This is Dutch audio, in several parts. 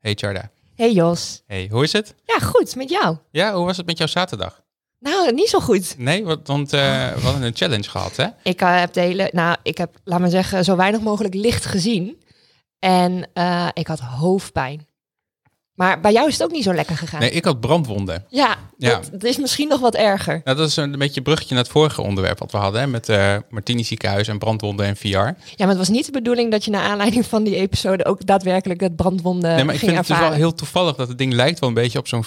Hey Charda. Hey Jos. Hey, hoe is het? Ja, goed, met jou. Ja, hoe was het met jouw zaterdag? Nou, niet zo goed. Nee, want, want eh, we hadden een challenge gehad, hè? Ik eh, heb de hele, nou, ik heb, laat maar zeggen, zo weinig mogelijk licht gezien. En eh, ik had hoofdpijn. Maar bij jou is het ook niet zo lekker gegaan. Nee, ik had brandwonden. Ja, Ja. Dat, dat is misschien nog wat erger. Nou, dat is een beetje een bruggetje naar het vorige onderwerp wat we hadden, hè? Met eh Martini ziekenhuis en brandwonden en VR. Ja, maar het was niet de bedoeling dat je naar aanleiding van die episode ook daadwerkelijk het brandwonden nee, maar ik vind ging het dus ervaren. wel heel toevallig dat het ding lijkt wel een beetje op zo'n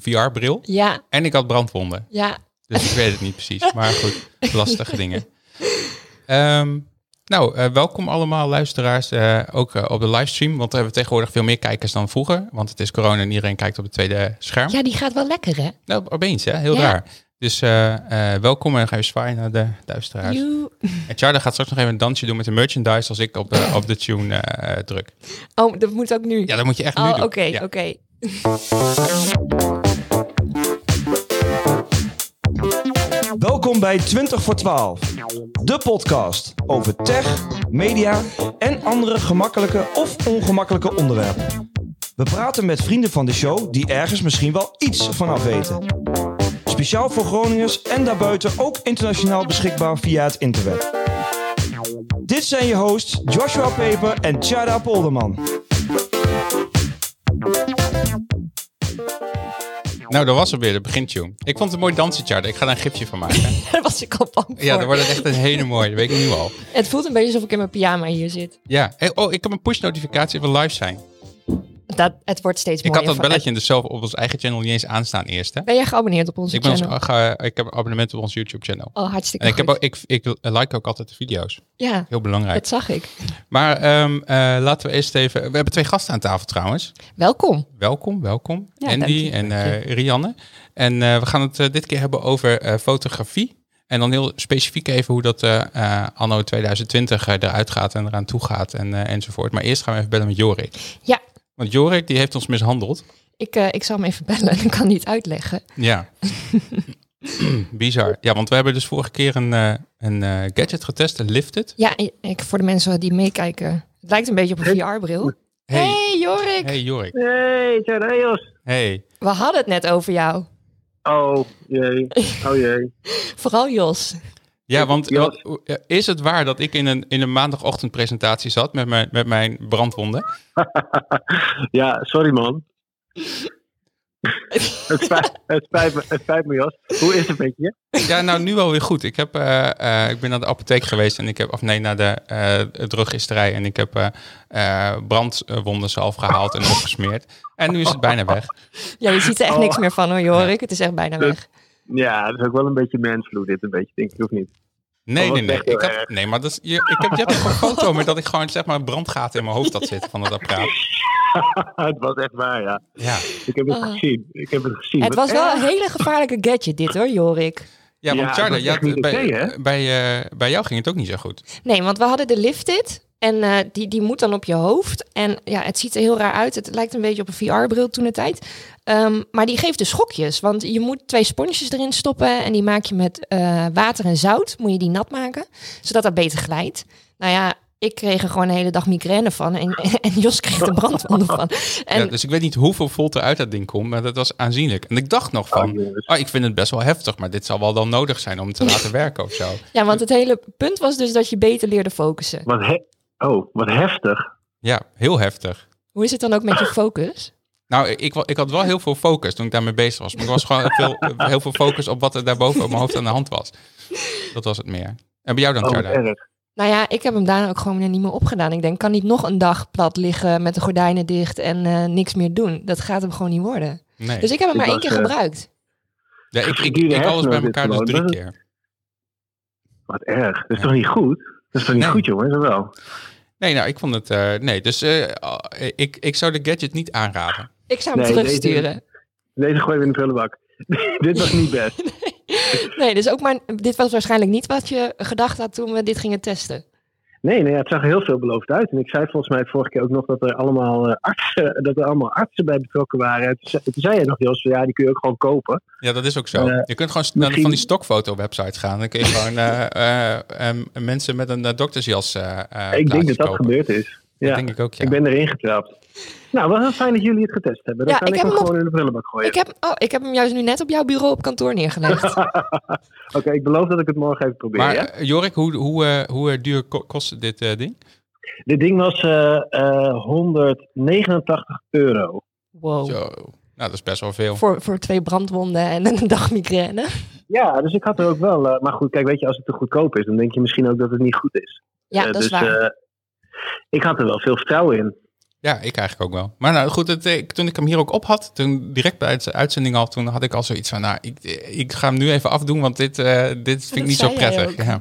VR-bril. Ja, En ik had brandwonden, ja. dus ik weet het niet precies. Maar goed, lastige dingen. Ehm, nou, eh, welkom allemaal luisteraars, eh, ook eh, op de livestream. Want we hebben tegenwoordig veel meer kijkers dan vroeger. Want het is corona en iedereen kijkt op het tweede scherm. ja, die gaat wel lekker, hè? Nou, opeens, hè? Heel Ja. raar. Dus eh, eh, welkom en ga je zwaaien naar de luisteraars. Joe. En Charda gaat straks nog even een dansje doen met de merchandise als ik op de, op de tune eh, eh, druk. Oh, dat moet ook nu. Ja, dat moet je echt nu oh, doen. oké, Ja. oké. Welkom bij 20 voor 12, de podcast over tech, media en andere gemakkelijke of ongemakkelijke onderwerpen. We praten met vrienden van de show die ergens misschien wel iets van af weten. Speciaal voor Groningers en daarbuiten ook internationaal beschikbaar via het interweb. Dit zijn je hosts Joshua Peper en Tjada Polderman. Nou, dat was hem weer, de begintune. Ik vond het een mooi dansje, Charda. Ik ga daar een gifje van maken. Daar was ik al bang voor. ja, dan wordt het echt een hele mooie. Dat weet ik nu al. Het voelt een beetje alsof ik in mijn pyjama hier zit. Ja. Hey, oh, ik heb een push-notificatie van live zijn. Dat, het wordt steeds Ik mooier. had dat van- belletje dus zelf op ons eigen channel niet eens aanstaan eerst, hè? Ben jij geabonneerd op onze Ik, ben ons, channel? ge- ik heb een abonnement op ons YouTube-channel. Oh, hartstikke En ik, heb goed. ook, ik, ik like ook altijd de video's. Ja, Heel belangrijk. dat zag ik. Maar ehm, eh, laten we eerst even. We hebben twee gasten aan tafel trouwens. Welkom. Welkom, welkom. Ja, dank Andy je, en dank eh, Rianne. En eh, we gaan het eh, dit keer hebben over eh, fotografie. En dan heel specifiek even hoe dat eh, eh, anno 2020 eh, eruit gaat en eraan toe gaat en, eh, enzovoort. Maar eerst gaan we even bellen met Jorik. Ja. Want Jorik die heeft ons mishandeld. Ik, eh, ik zal hem even bellen. Ik kan niet uitleggen. Ja. Bizar. Ja, want we hebben dus vorige keer een, eh, een eh, gadget getest, een Lifted. Ja, ik, voor de mensen die meekijken. Het lijkt een beetje op een VR-bril. Hey, Hey, Jorik. hey Jorik. Hey, Tadeusz. Hey. We hadden het net over jou. Oh, jee. Oh, jee. Vooral Jos. Ja, want Jos. wat- eh, is het waar dat ik in een, in een maandagochtendpresentatie zat met mijn, met mijn brandwonden? Ja, sorry, man. het, spijt, het, spijt me, het spijt me, Jos. Hoe is het met je? Ja, nou nu wel weer goed. Ik, heb, eh, eh, ik ben naar de apotheek geweest en ik heb, of nee, naar de eh druggisterij en ik heb eh eh, brandwonden zelf gehaald en opgesmeerd. En nu is het bijna weg. Ja, je ziet er echt Oh. niks meer van hoor, Jorik. Het is echt bijna weg. Ja, dat is ook wel een beetje mansvloed dit, een beetje, denk ik, of niet? Nee, Oh, nee, wat nee. echt heel Ik had, erg. nee, maar dat is, je, ik heb, je hebt toch een foto met dat ik gewoon zeg maar een brandgaten in mijn hoofd had zitten van dat apparaat. Ah, het was echt waar, ja. Ja, Ik heb het Ah. gezien. Ik heb het gezien. Het Wat was wel erg. een hele gevaarlijke gadget dit hoor, Jorik. ja want Ja, Charlie, dat is echt niet bij, oké, hè? bij, eh, bij jou ging het ook niet zo goed. Nee, want we hadden de lifted. En eh, die, die moet dan op je hoofd. En ja, het ziet er heel raar uit. Het lijkt een beetje op een VR-bril toen de tijd. maar die geeft dus schokjes. Want je moet twee sponsjes erin stoppen. En die maak je met eh, water en zout. Moet je die nat maken. Zodat dat beter glijdt. Nou ja, ik kreeg er gewoon de hele dag migraine van. En, en Jos kreeg er brandwonden van. En Ja, dus ik weet niet hoeveel volt er uit dat ding komt, maar dat was aanzienlijk. En ik dacht nog van, Oh, jongens. Ah, ik vind het best wel heftig, maar dit zal wel dan nodig zijn om te laten werken of zo. ja, want het hele punt was dus dat je beter leerde focussen. Wat he- oh, wat heftig. Ja, heel heftig. Hoe is het dan ook met je focus? Nou, ik, wa- ik had wel heel veel focus toen ik daarmee bezig was. Maar ik was gewoon veel, heel veel focus op wat er daarboven op mijn hoofd aan de hand was. Dat was het meer. En bij jou dan, Oh, wat Charda? erg. Nou ja, ik heb hem daarna ook gewoon weer niet meer opgedaan. Ik denk, kan niet nog een dag plat liggen met de gordijnen dicht en eh, niks meer doen. Dat gaat hem gewoon niet worden. Nee. Dus ik heb hem Ik maar één was, keer eh, gebruikt. Ja, ik, ik, ik, geduurde alles bij hersenen elkaar dus dit drie gewoon, keer. Wat erg. Dat is Ja. toch niet goed? Dat is toch niet Nee. goed, jongens? of Wel. Nee, nou, ik vond het... eh, nee, dus eh, ah, ik, ik zou de gadget niet aanraden. Ik zou hem Nee, terugsturen. Deze gooi we in de prullenbak. dit was niet best. Nee, dus ook maar, dit was waarschijnlijk niet wat je gedacht had toen we dit gingen testen. Oh, Nee, nee, het zag er heel veelbelovend uit. En ik zei volgens mij vorige keer ook nog dat er allemaal, eh, artsen, dat er allemaal artsen bij betrokken waren. En Toen zei, toen zei je nog, Jos, van, ja, die kun je ook gewoon kopen. Ja, dat is ook zo. Eh, je kunt gewoon naar misschien- van die stokfoto-websites gaan. Dan kun je gewoon eh, eh, eh, mensen met een eh, doktersjas eh, eh, ik denk plaatjes dat dat kopen. gebeurd is. Dat Ja. denk ik ook, ja. Ik ben erin getrapt. Nou, wel heel fijn dat jullie het getest hebben. Dan Ja, kan ik ik, heb hem hem op- gewoon in de prullenbak gooien. Ik heb, oh, ik heb hem juist nu net op jouw bureau op kantoor neergelegd. Oké, ik beloof dat ik het morgen even probeer. Maar ja? eh, Jorik, hoe, hoe, eh, hoe eh, duur ko- kost dit eh, ding? Dit ding was eh, eh, 189 euro. Wow. Oh. Zo. Nou, dat is best wel veel. Voor, voor twee brandwonden en een dag migraine. Ja, dus ik had er ook wel. eh, maar goed, kijk, weet je, als het te goedkoop is, dan denk je misschien ook dat het niet goed is. Ja, Eh, dat is dus, waar. eh, ik had er wel veel vertrouwen in. Ja, ik eigenlijk ook wel. Maar nou goed, het, eh, toen ik hem hier ook op had, toen direct bij de uitzending al, toen had ik al zoiets van, nou, ik, ik ga hem nu even afdoen, want dit, eh, dit vind ik Dat niet zo zei jij prettig. Ja,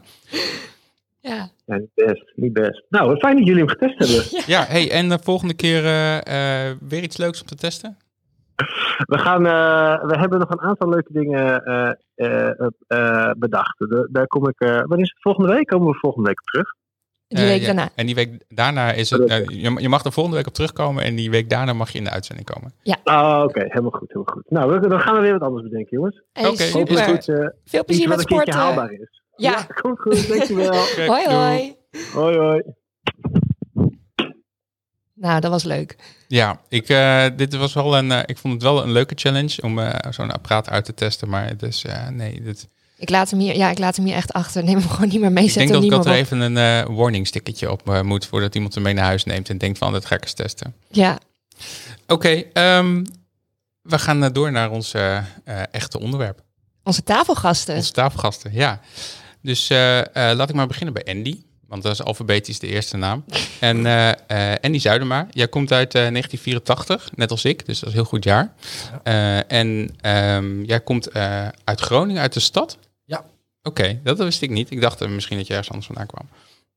Ja. Ja, niet best, niet best. Nou, wat fijn dat jullie hem getest hebben. ja hey, en de volgende keer eh, eh, weer iets leuks om te testen? We, gaan, eh, we hebben nog een aantal leuke dingen eh, eh, eh, bedacht. Da- daar kom ik. eh wanneer is het volgende week? Komen we volgende week op terug? Die Eh, week ja. daarna. En die week daarna is het, eh, je, je mag er volgende week op terugkomen en die week daarna mag je in de uitzending komen. Ah, oké, helemaal goed, helemaal goed. Nou, we- dan gaan we weer wat anders bedenken, jongens. Hey, Oké, is super. goed. eh, Veel iets plezier wat met een keertje sporten. haalbaar is. Ja. Komt goed, dankjewel. Oké, Hoi doei. hoi. hoi, hoi. Nou, dat was leuk. Ja, ik, eh, dit was wel een, eh, ik vond het wel een leuke challenge om eh, zo'n apparaat uit te testen, maar het is, eh, nee, dit, Ik laat hem hier, ja, ik laat hem hier echt achter. Neem hem gewoon niet meer mee. Ik Zet denk hem dat ik niet altijd meer even op. een eh warning stickertje op eh, moet voordat iemand hem mee naar huis neemt en denkt van "Oh, dat ga ik eens testen. Ja. Oké, ehm, we gaan eh, door naar ons eh, eh, echte onderwerp. Onze tafelgasten. Onze tafelgasten, ja. Dus eh, eh, laat ik maar beginnen bij Andy, want dat is alfabetisch de eerste naam. En eh, eh, Andy Zuidema, jij komt uit eh, 1984, net als ik, dus dat is een heel goed jaar. Eh, en ehm, jij komt eh, uit Groningen, uit de stad? Ja. Oké, dat wist ik niet. Ik dacht eh, misschien dat je ergens anders vandaan kwam.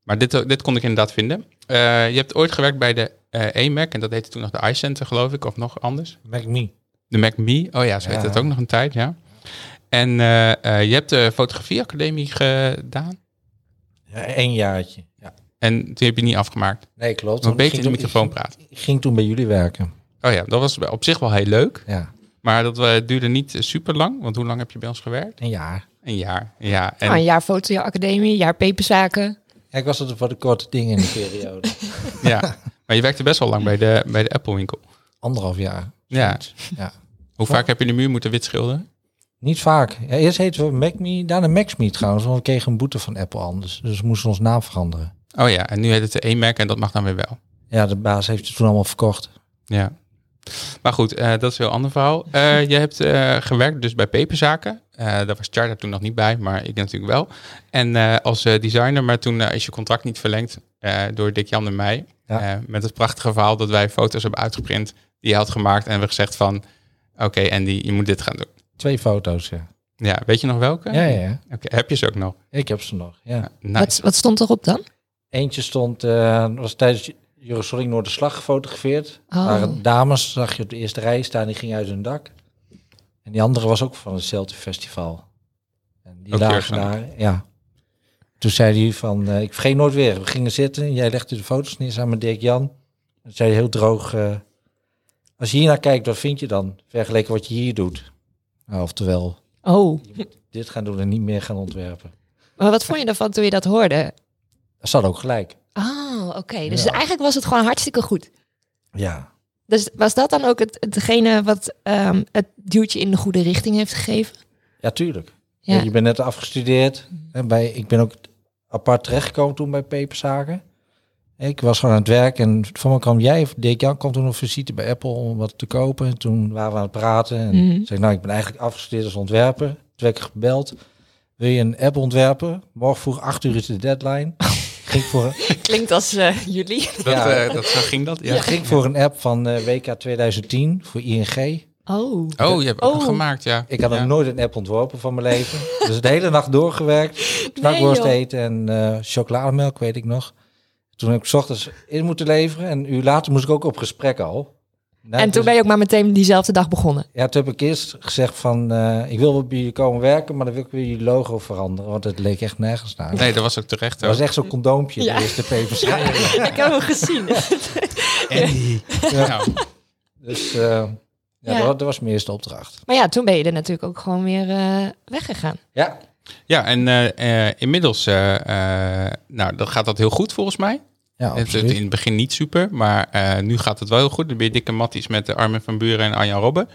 Maar dit, eh, dit kon ik inderdaad vinden. Eh, je hebt ooit gewerkt bij de eh EMAC, en dat heette toen nog de iCenter, geloof ik, of nog anders. Mac me. De Mac Me. Oh ja, ze Ja. heette het ook nog een tijd, ja. En eh, eh, je hebt de fotografieacademie gedaan. Ja, één jaartje. Ja. En die heb je niet afgemaakt. Nee, klopt. Maar Want ik beter in Oh, ging de toen- microfoon ik praten. ging- Ik ging toen bij jullie werken. Oh ja, dat was op zich wel heel leuk. Ja, Maar dat eh, duurde niet super lang. Want hoe lang heb je bij ons gewerkt? een jaar. Een jaar. Ja, en Nou, een jaar fotoacademie, een jaar peperzaken. Ja, ik was er voor de korte dingen in die periode. ja. Maar je werkte best wel lang bij de, bij de Apple winkel. Anderhalf jaar. Ja. Ja. Hoe vaak heb je de muur moeten wit schilderen? Niet vaak. Ja, eerst heten we Mac me, daarna Max me trouwens. Want we kregen een boete van Apple anders. Dus we moesten ons naam veranderen. Oh ja, en nu heet het de E-Mac en dat mag dan weer wel. Ja, de baas heeft het toen allemaal verkocht. Ja. Maar goed, eh, dat is een heel ander verhaal. Eh, je hebt eh, gewerkt dus bij Peperzaken. Eh, daar was Charter toen nog niet bij, maar ik natuurlijk wel. En eh, als eh, designer, maar toen eh, is je contract niet verlengd eh, door Dick Jan en mij. Ja. Eh, met het prachtige verhaal dat wij foto's hebben uitgeprint die hij had gemaakt. En we gezegd van, oké Andy, je moet dit gaan doen. Twee foto's, ja. Ja, weet je nog welke? Ja, ja, ja. Oké, heb je ze ook nog? Ik heb ze nog, ja. Nice. Wat, wat stond erop dan? Eentje stond, eh, was tijdens Jerusalem Noorderslag gefotografeerd. Oh. Waren dames, zag je op de eerste rij staan, die gingen uit hun dak. En die andere was ook van hetzelfde festival. En die Ook lagen Jerusalem. daar, ja. Toen zei hij van, eh, ik vergeet nooit weer. We gingen zitten, jij legde de foto's neer samen met Dirk Jan. En zei hij heel droog, eh, als je hier naar kijkt, wat vind je dan? Vergeleken wat je hier doet. Nou, oftewel, Oh. dit gaan doen en niet meer gaan ontwerpen. Maar wat vond je daarvan toen je dat hoorde? Dat zat ook gelijk. Oh, oké. Dus Ja. eigenlijk was het gewoon hartstikke goed. Ja, Dus was dat dan ook het, hetgene wat ehm, het duwtje in de goede richting heeft gegeven? Ja, tuurlijk. Ja. Je bent net afgestudeerd. En bij, ik ben ook apart terechtgekomen toen bij Peperzaken. Ik was gewoon aan het werk en van me kwam jij, of Dirk Jan, kwam toen op visite bij Apple om wat te kopen. En toen waren we aan het praten en Mhm. zei ik, nou, ik ben eigenlijk afgestudeerd als ontwerper. Toen werd ik gebeld, wil je een app ontwerpen? Morgen vroeg 8 uur is de deadline. ging voor, Klinkt als eh, jullie. Dat, ja, eh, dat, zo ging dat? Ja. ging voor een app van eh, WK 2010 voor ING. Oh. Oh, je hebt ook Oh. nog gemaakt, ja. Ik had ja. nog nooit een app ontworpen van mijn leven. dus de hele nacht doorgewerkt. Knakworst joh. eten en eh, chocolademelk, weet ik nog. Toen heb ik 's ochtends in moeten leveren. En een uur later moest ik ook op gesprek al. En Nou, toen dus- ben je ook maar meteen diezelfde dag begonnen. Ja, toen heb ik eerst gezegd van... eh, ik wil wel bij jullie komen werken, maar dan wil ik weer jullie logo veranderen. Want het leek echt nergens naar. Nee, dat was ook terecht. Het was Ook. echt zo'n condoompje, Ja. de eerste pepers. Ik heb hem gezien. echt- Nou, Dus eh, ja, Ja. Dat, dat was mijn eerste opdracht. Maar ja, toen ben je er natuurlijk ook gewoon weer eh, weggegaan. Ja, Ja, en eh, eh, inmiddels eh, eh, nou, dat gaat dat heel goed volgens mij. Ja, Het, het- absoluut. in het begin niet super, maar eh, nu gaat het wel heel goed. Dan ben je dikke matties met de Armin van Buren en Arjan Robben.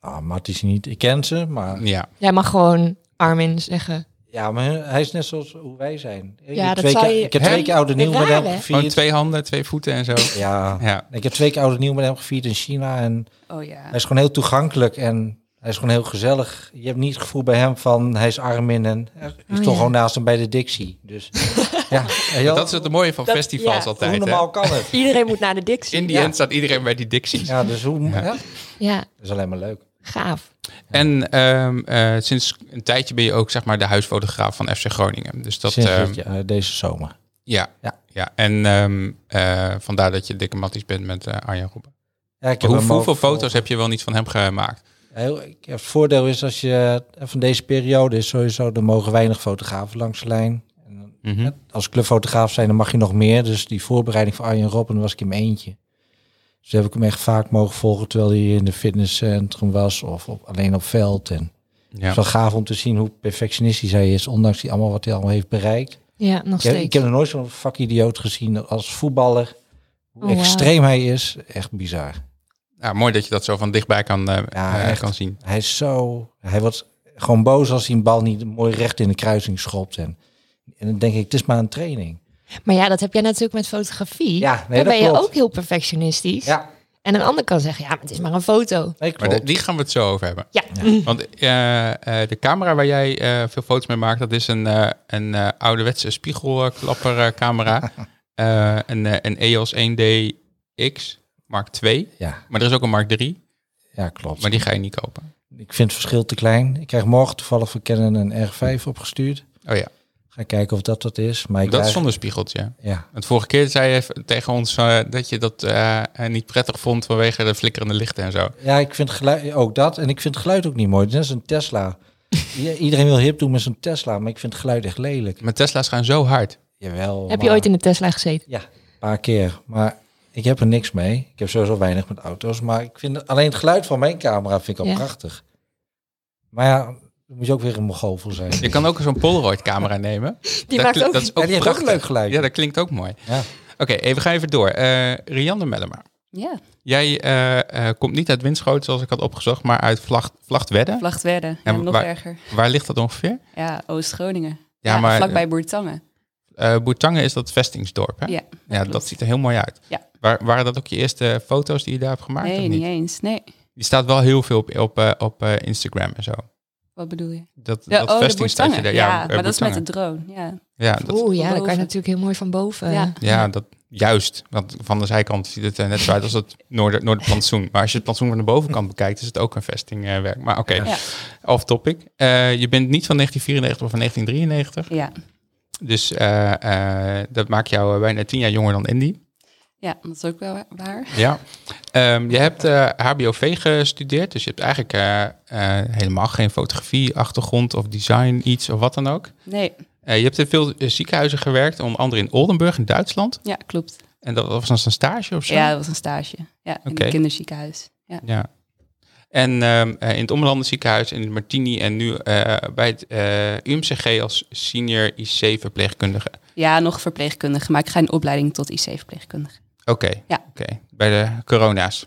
Nou, Mart is niet. Ik ken ze, maar Ja, Jij mag gewoon Armin zeggen. ja, maar hij is net zoals hoe wij zijn. Ik Ja, heb dat twee zou keer- je- Ik heb twee keer oude nieuw met Raar, hem hè? gewoon gevierd. Oh, twee handen, twee voeten en zo. Ja. Ja, Ik heb twee keer oude nieuw met hem gevierd in China en Oh ja. hij is gewoon heel toegankelijk en hij is gewoon heel gezellig. Je hebt niet het gevoel bij hem van hij is Armin en hij is Oh, toch ja. gewoon naast hem bij de Dixie. Dus ja, heel, dat is het mooie van Dat- festivals ja, hoe altijd. Hè? normaal kan het. Iedereen moet naar de Dixie. In die Ja. end staat iedereen bij die Dixies. Ja, dus hoe, Ja. ja. Ja, dat is alleen maar leuk. gaaf. En ehm, eh, sinds een tijdje ben je ook zeg maar de huisfotograaf van FC Groningen. Dus dat, Sinds ehm, dit jaar, deze zomer. ja, ja. Ja. En ehm, eh, vandaar dat je dikke matties bent met eh, Arjan Robben. Ja, ik heb Hoe, hem ook hoeveel voor- foto's heb je wel niet van hem gemaakt? Heel, ik- het voordeel is als je eh, van deze periode is sowieso, er mogen weinig fotografen langs de lijn. En dan- Mhm. Als clubfotograaf zijn, dan mag je nog meer. Dus die voorbereiding van Arjen Robben was ik in mijn eentje. Dus heb ik hem echt vaak mogen volgen terwijl hij in de fitnesscentrum was of op, alleen op veld. En het Ja. is wel gaaf om te zien hoe perfectionistisch hij is, ondanks die allemaal wat hij allemaal heeft bereikt. Ja, nog Ik heb, steeds. ik heb nog nooit zo'n vakidioot gezien als voetballer. Hoe Oh, wauw. extreem hij is, echt bizar. Nou, mooi dat je dat zo van dichtbij kan, eh, Ja, eh, echt. kan zien. Hij is zo. Hij wordt gewoon boos als hij een bal niet mooi recht in de kruising schopt. En, en dan denk ik, het is maar een training. Maar ja, dat heb jij natuurlijk met fotografie. Ja, nee, Daar dat ben je klopt. ook heel perfectionistisch. Ja, En een ander kan zeggen, ja, maar het is maar een foto. nee, Maar klopt. Mm. de- die gaan we het zo over hebben. Ja. mm, Want eh, eh, de camera waar jij eh, veel foto's mee maakt, dat is een, eh, een eh, ouderwetse spiegelklappercamera. Eh een, eh, een EOS 1DX Mark II. ja, Maar er is ook een Mark III, ja, klopt. maar die ga je niet kopen. Ik vind het verschil te klein. Ik krijg morgen toevallig van Canon een R5 opgestuurd. Oh ja, Ga kijken of dat dat is. Maar ik dat is krijg- zonder spiegeltje. Ja, Want vorige keer zei je v- tegen ons eh, dat je dat eh, eh, niet prettig vond vanwege de flikkerende lichten en zo. ja ik vind geluid, ook dat. En ik vind het geluid ook niet mooi. Net is een Tesla. I- Iedereen wil hip doen met zo'n Tesla, maar ik vind het geluid echt lelijk. Maar Tesla's gaan zo hard. Jawel. Heb je maar- ooit in de Tesla gezeten? Ja, een paar keer. Maar ik heb er niks mee. Ik heb sowieso weinig met auto's. Maar ik vind alleen het geluid van mijn camera vind ik al Ja. prachtig. Maar ja, dan moet je ook weer een mogol voor zijn. Je kan ook zo'n Polaroid-camera nemen. Die Dat maakt kli- ook... dat is Ja, die heeft ook prachtig. leuk geluid. Ja, dat klinkt ook mooi. Ja. Oké, even ga even door. Eh Rianne Mellema. Ja, Jij eh, eh, komt niet uit Winschoten, zoals ik had opgezocht, maar uit Vlacht, Vlachtwedde. vlacht werden. Ja, Ja, nog waar- erger. Waar ligt dat ongeveer? Ja, Oost-Groningen. Ja, Ja, maar- vlakbij Boertangen. Eh Boertangen is dat vestingsdorp, hè? Ja, dat Ja, dat, klopt. ziet er heel mooi uit. Ja. Waar, waren dat ook je eerste foto's die je daar hebt gemaakt? of Nee, niet? niet eens. Nee, Die staat wel heel veel op, op, eh, op eh, Instagram en zo. wat bedoel je? Dat, De, dat oh, de vestingstadje Boertangen. Ja, daar. Ja, eh, maar dat is met de Boertangen. drone. Ja, Ja, dat, Oeh, ja, dan kan je boven. natuurlijk heel mooi van boven. Ja. ja, dat juist. Want van de zijkant ziet het eh, net zo uit als het noorder, noorderplantsoen. Maar als je het plantsoen van de bovenkant bekijkt, is het ook een vestingwerk. maar oké, Ja. off topic. Eh, je bent niet van 1994 of van 1993. ja, Dus eh, eh, dat maakt jou eh, bijna tien jaar jonger dan Indy. ja, dat is ook wel wa- waar. Ja. Ehm, je hebt eh, HBOV gestudeerd, dus je hebt eigenlijk eh, eh, helemaal geen fotografie-achtergrond of design iets of wat dan ook. Nee, Eh, je hebt in veel eh, ziekenhuizen gewerkt, onder andere in Oldenburg in Duitsland. ja, klopt. En dat was als een stage of zo? Ja, dat was een stage. Ja, in Oké. een kinderziekenhuis. Ja, Ja. En ehm, eh, in het Ommelanden ziekenhuis, in het Martini en nu eh, bij het eh, UMCG als senior IC-verpleegkundige. ja nog verpleegkundige, maar ik ga in opleiding tot IC-verpleegkundige. Oké, Ja. oké. bij de corona's.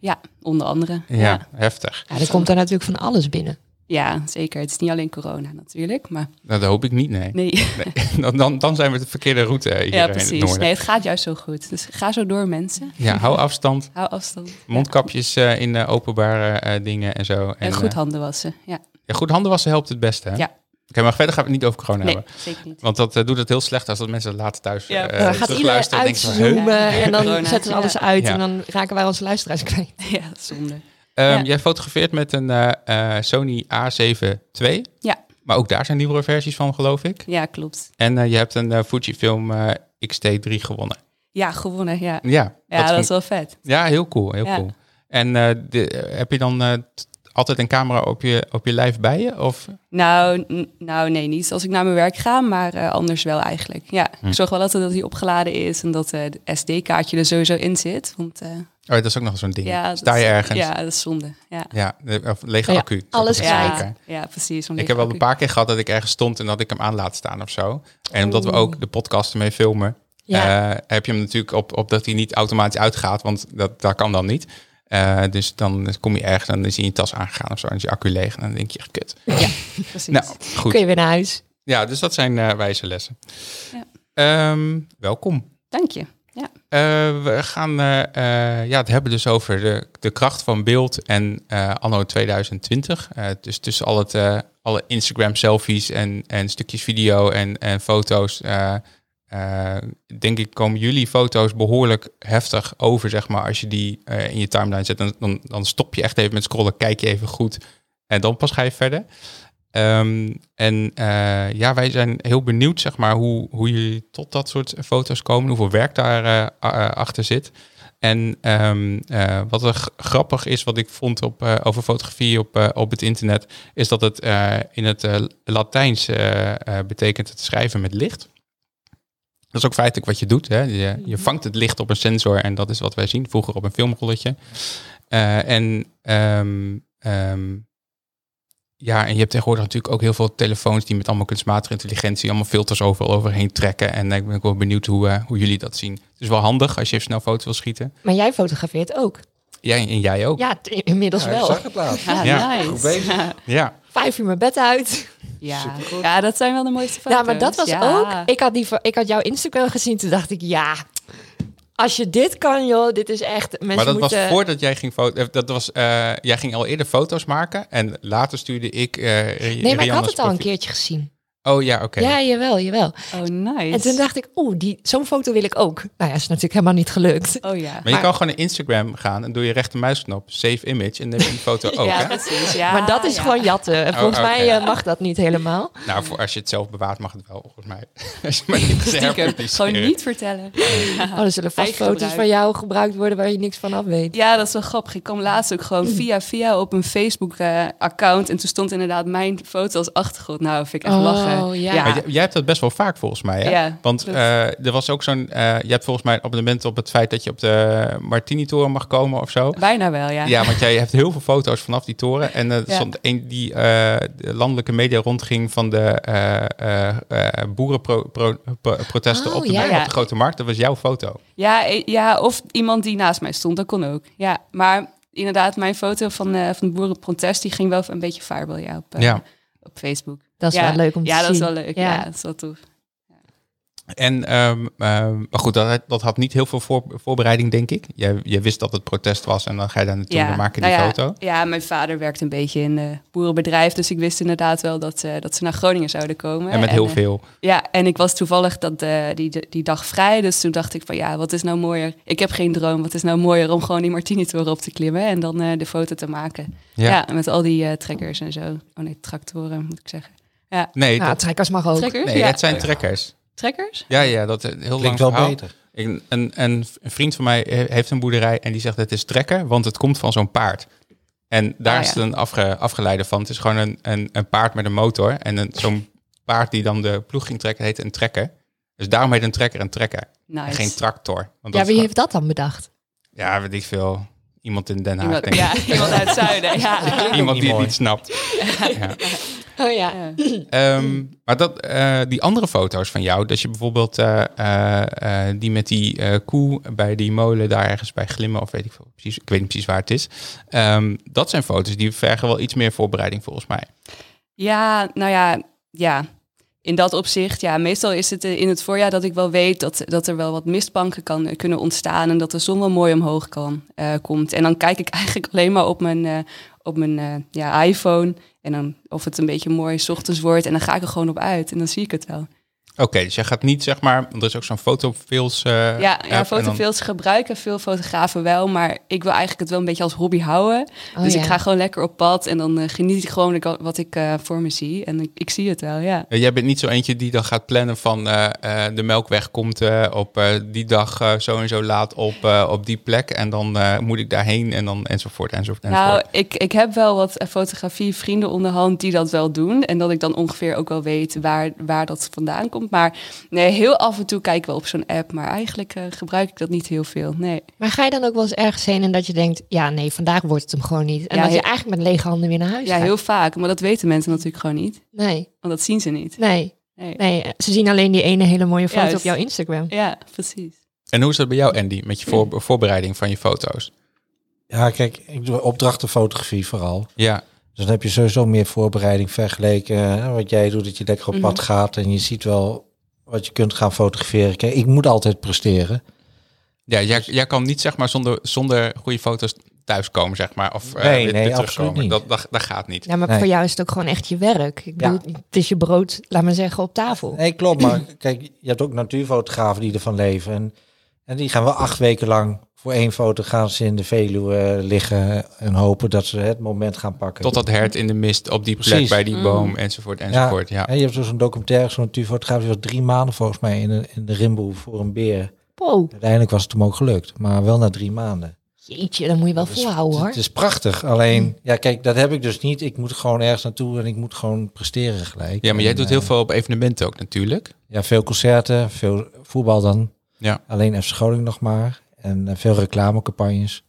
Ja, onder andere. Ja, ja. heftig. Ja, er komt daar natuurlijk van alles binnen. Ja, zeker. Het is niet alleen corona natuurlijk, maar Nou, dat hoop ik niet, nee. nee. Nee, dan, dan, dan zijn we de verkeerde route eh, hier Ja, in het precies. noorden. Nee, het gaat juist zo goed. Dus ga zo door, mensen. Ja, hou afstand, Hou afstand. mondkapjes eh, in eh, openbare eh, dingen en zo. En eh, goed handen wassen. Ja, ja, goed handen wassen helpt het beste, hè? Ja. Oké, maar verder gaan we het niet over corona nee, hebben. zeker niet. Want dat eh, doet het heel slecht als dat mensen later thuis Ja, ja, dan uh, gaat iedereen terugluisteren. en denken van, "Huh?" uitzoomen en dan Corona. zetten ze alles uit Ja. en dan raken wij onze luisteraars kwijt. Ja, zonde. Ehm, Ja. Jij fotografeert met een eh, eh, Sony A7 II. Ja. Maar ook daar zijn nieuwere versies van, geloof ik. Ja, klopt. En eh, je hebt een eh, Fujifilm eh, XT3 gewonnen. Ja, gewonnen. Ja, Ja, ja dat vond- is wel vet. ja heel cool. Heel Ja. cool. En eh, de- heb je dan eh, t- altijd een camera op je, op je lijf bij je? Of? oh, Nou, n- nou, nee, niet als ik naar mijn werk ga, maar eh, anders wel eigenlijk. Ja, Hm. ik zorg wel altijd dat hij opgeladen is en dat eh het SD-kaartje er sowieso in zit. Want eh, Oh, dat is ook nog zo'n ding. ja, dat Sta je is- ergens? Ja, dat is zonde. Ja, Ja, de- of lege Ja, Oh ja, accu. Dat alles is ook kwijt. zeker. ja, ja precies. want Ik heb wel een accu- paar keer gehad dat ik ergens stond en dat ik hem aan laat staan of zo. En omdat we ook de podcast ermee filmen, Ja. eh, heb je hem natuurlijk op, op dat hij niet automatisch uitgaat, want dat, dat kan dan niet. Eh, dus dan kom je ergens en dan is hij in je tas aangegaan of zo. En is je accu leeg en dan denk je echt kut. Precies. Nou, goed. Kun je weer naar huis. Ja, dus dat zijn eh, wijze lessen. Ja. Ehm, welkom. Dank je. Eh, we gaan eh, eh, ja, het hebben dus over de, de kracht van beeld en eh, anno 2020. Eh, dus tussen al het, eh, alle Instagram-selfies en, en stukjes video en, en foto's... eh, eh, denk ik komen jullie foto's behoorlijk heftig over, zeg maar. Als je die eh, in je timeline zet, dan, dan, dan stop je echt even met scrollen, kijk je even goed... en dan pas ga je verder. Ehm, en eh, ja, wij zijn heel benieuwd, zeg maar, hoe, hoe jullie tot dat soort foto's komen, hoeveel werk daar eh, a- eh, achter zit. En ehm, eh, wat er g- grappig is, wat ik vond op, eh, over fotografie op, eh, op het internet, is dat het eh, in het eh, Latijns eh, eh, betekent het schrijven met licht. Dat is ook feitelijk wat je doet. Hè? Je, je vangt het licht op een sensor en dat is wat wij zien vroeger op een filmrolletje. Eh, en ehm, ehm, ja, en je hebt tegenwoordig natuurlijk ook heel veel telefoons die met allemaal kunstmatige intelligentie, allemaal filters overal overheen trekken. En ik ben ook wel benieuwd hoe, eh, hoe jullie dat zien. Het is wel handig als je even snel foto's wil schieten. Maar jij fotografeert ook. Jij en jij ook. Ja, t- inmiddels Ja, ik wel. zag het laatst. Ja, Ja. Ah, nice. Goed bezig. Ja. Vijf uur mijn bed uit. Ja. ja, dat zijn wel de mooiste foto's. Ja, maar dat was Ja. ook... Ik had, die, fo- ik had jouw Instagram gezien, toen dacht ik, ja... Als je dit kan, joh, dit is echt... Mensen Maar dat was moeten, voordat jij ging foto. eh, Dat was, eh, jij ging al eerder foto's maken. En later stuurde ik. eh Nee, maar ik had het al een keertje gezien. Oh ja, oké. Ja, jawel, jawel. Oh, nice. En toen dacht ik, oeh, die- zo'n foto wil ik ook. Nou ja, is natuurlijk helemaal niet gelukt. Oh ja. Maar je kan gewoon naar Instagram gaan en doe je rechtermuisknop, save image en dan heb je die foto ook. ja, hè? precies. Ja, maar dat is ja. gewoon jatten. En Oh, volgens mij oké. eh, mag dat niet helemaal. Nou, voor als je het zelf bewaart mag het wel, volgens mij. Als je maar niet Stiekem. herpubliceert. Gewoon niet vertellen. Oh, er zullen vast Eigen foto's gebruik. van jou gebruikt worden waar je niks van af weet. Ja, dat is wel grappig. Ik kwam laatst ook Mm. gewoon via via op een Facebook-account. en toen stond inderdaad mijn foto als achtergrond. Nou, vind ik echt Oh, lachen. ja. Maar j- jij, hebt dat best wel vaak volgens mij. Hè? Ja, Want dat- eh, er was ook zo'n. eh, je hebt volgens mij een abonnement op het feit dat je op de Martini-toren mag komen of zo. bijna wel, ja. Ja, want jij hebt heel veel foto's vanaf die toren. En eh, er Ja. stond een die eh, de landelijke media rondging van de eh, eh, eh, boerenprotesten Oh, op, de, ja. op de Grote Markt. Dat was jouw foto. Ja, eh, ja, of iemand die naast mij stond, dat kon ook. Ja, maar inderdaad, mijn foto van, eh, van de boerenprotest, die ging wel een beetje vaarwel ja, op, eh, Ja. op Facebook. Dat is ja. wel leuk om te Ja, zien. dat is wel leuk. Ja, Ja. dat is wel tof. En ehm, ehm, maar goed, dat, dat had niet heel veel voor- voorbereiding, denk ik. Jij, jij wist dat het protest was en dan ga je daar naartoe en ja. dan maak je die Nou ja, foto. Ja, mijn vader werkt een beetje in een boerenbedrijf, dus ik wist inderdaad wel dat, eh, dat ze naar Groningen zouden komen. En met heel eh, veel. Ja, en ik was toevallig dat, eh, die, die dag vrij. Dus toen dacht ik van ja, wat is nou mooier? Ik heb geen droom. Wat is nou mooier om gewoon die Martini-toren op te klimmen en dan eh, de foto te maken? Ja. Ja, met al die eh, trekkers en zo. Oh nee, tractoren moet ik zeggen. Nee, Nou, dat- trekkers mag ook. Trekkers? nee ja. het zijn trekkers. Trekkers? Ja, ja, dat eh, heel lang Klinkt wel verhaal. beter. Ik, een, een, een vriend van mij he- heeft een boerderij en die zegt het is trekker, want het komt van zo'n paard. En daar Ah, is ja. het een afge, afgeleide van. Het is gewoon een, een, een paard met een motor. En een, zo'n paard die dan de ploeg ging trekken, heet een trekker. Dus daarom heet een trekker een trekker. En Nice. geen tractor. Want Ja, dat wie is heeft dat dan bedacht? gewoon- ja, weet ik veel. Iemand in Den Haag, Iemand, denk ik. ja, iemand uit het zuiden. Ja. Iemand die het Mooi. niet snapt. Ja. Oh ja. Ehm, maar dat, eh, die andere foto's van jou, dat je bijvoorbeeld eh, eh, eh, die met die eh, koe bij die molen daar ergens bij glimmen, of weet ik veel precies, ik weet niet precies waar het is. Ehm, dat zijn foto's die vergen wel iets meer voorbereiding volgens mij. Ja, nou ja, ja. In dat opzicht, ja, meestal is het eh, in het voorjaar dat ik wel weet dat, dat er wel wat mistbanken kan, eh, kunnen ontstaan en dat de zon wel mooi omhoog kan, eh, komt. En dan kijk ik eigenlijk alleen maar op mijn, eh, op mijn eh, ja, iPhone en dan of het een beetje mooi 's ochtends wordt en dan ga ik er gewoon op uit en dan zie ik het wel. Oké, dus je gaat niet zeg maar, want er is ook zo'n fotofils. eh, ja, app en ja dan- fotofilms gebruiken veel fotografen wel, maar ik wil eigenlijk het wel een beetje als hobby houden. Oh, dus ja. ik ga gewoon lekker op pad en dan eh, geniet ik gewoon wat ik eh, voor me zie en ik, ik zie het wel, ja. Ja, Eh, Jij bent niet zo eentje die dan gaat plannen van eh, eh, de melkweg komt eh, op eh, die dag eh, zo en zo laat op, eh, op die plek en dan eh, moet ik daarheen en dan enzovoort enzovoort. Nou, enzovoort. ik, ik heb wel wat eh, fotografievrienden onderhand die dat wel doen. En dat ik dan ongeveer ook wel weet waar, waar dat vandaan komt. Maar nee, heel af en toe kijk ik wel op zo'n app. Maar eigenlijk eh, gebruik ik dat niet heel veel. Nee. Maar ga je dan ook wel eens ergens heen en dat je denkt, ja nee, vandaag wordt het hem gewoon niet. En Ja, dat je heel- eigenlijk met lege handen weer naar huis Ja, gaat. heel vaak. Maar dat weten mensen natuurlijk gewoon niet. Nee, Want dat zien ze niet. nee. Nee. Nee, ze zien alleen die ene hele mooie foto Juist. op jouw Instagram. Ja, precies. En hoe is dat bij jou, Andy, met je voor- voorbereiding van je foto's? Ja, kijk, ik doe opdrachtenfotografie vooral. Ja, Dus dan heb je sowieso meer voorbereiding vergeleken. hè, wat jij doet, dat je lekker op Mhm. pad gaat en je ziet wel wat je kunt gaan fotograferen. Kijk, ik moet altijd presteren. ja jij, jij kan niet zeg maar zonder, zonder goede foto's thuiskomen, zeg maar. Of eh, Nee, weer- weer nee, absoluut terugkomen. niet. Dat, dat, dat gaat niet. Ja, maar Nee. voor jou is het ook gewoon echt je werk. Ik bedoel, het is je brood, laat maar zeggen, op tafel. Nee, klopt. Maar kijk, je hebt ook natuurfotografen die ervan leven. En, en die gaan wel acht weken lang voor één foto gaan ze in de Veluwe eh, liggen en hopen dat ze het moment gaan pakken. Tot dat hert in de mist op die plek Precies. bij die Mm. boom, enzovoort, enzovoort. Ja, Hè, je hebt zo'n documentaire, zo'n natuurfotograaf, die was drie maanden volgens mij in, een- in de rimboe voor een beer. Wow, Uiteindelijk was het hem ook gelukt, maar wel na drie maanden. jeetje, dan moet je wel Dat is- volhouden hoor. Het is prachtig. Alleen, ja, kijk, dat heb ik dus niet. Ik moet gewoon ergens naartoe en ik moet gewoon presteren gelijk. ja maar jij En, doet eh, heel veel op evenementen ook natuurlijk. Ja, veel concerten, veel voetbal dan. Ja. Alleen FC Groningen nog maar. En eh, veel reclamecampagnes.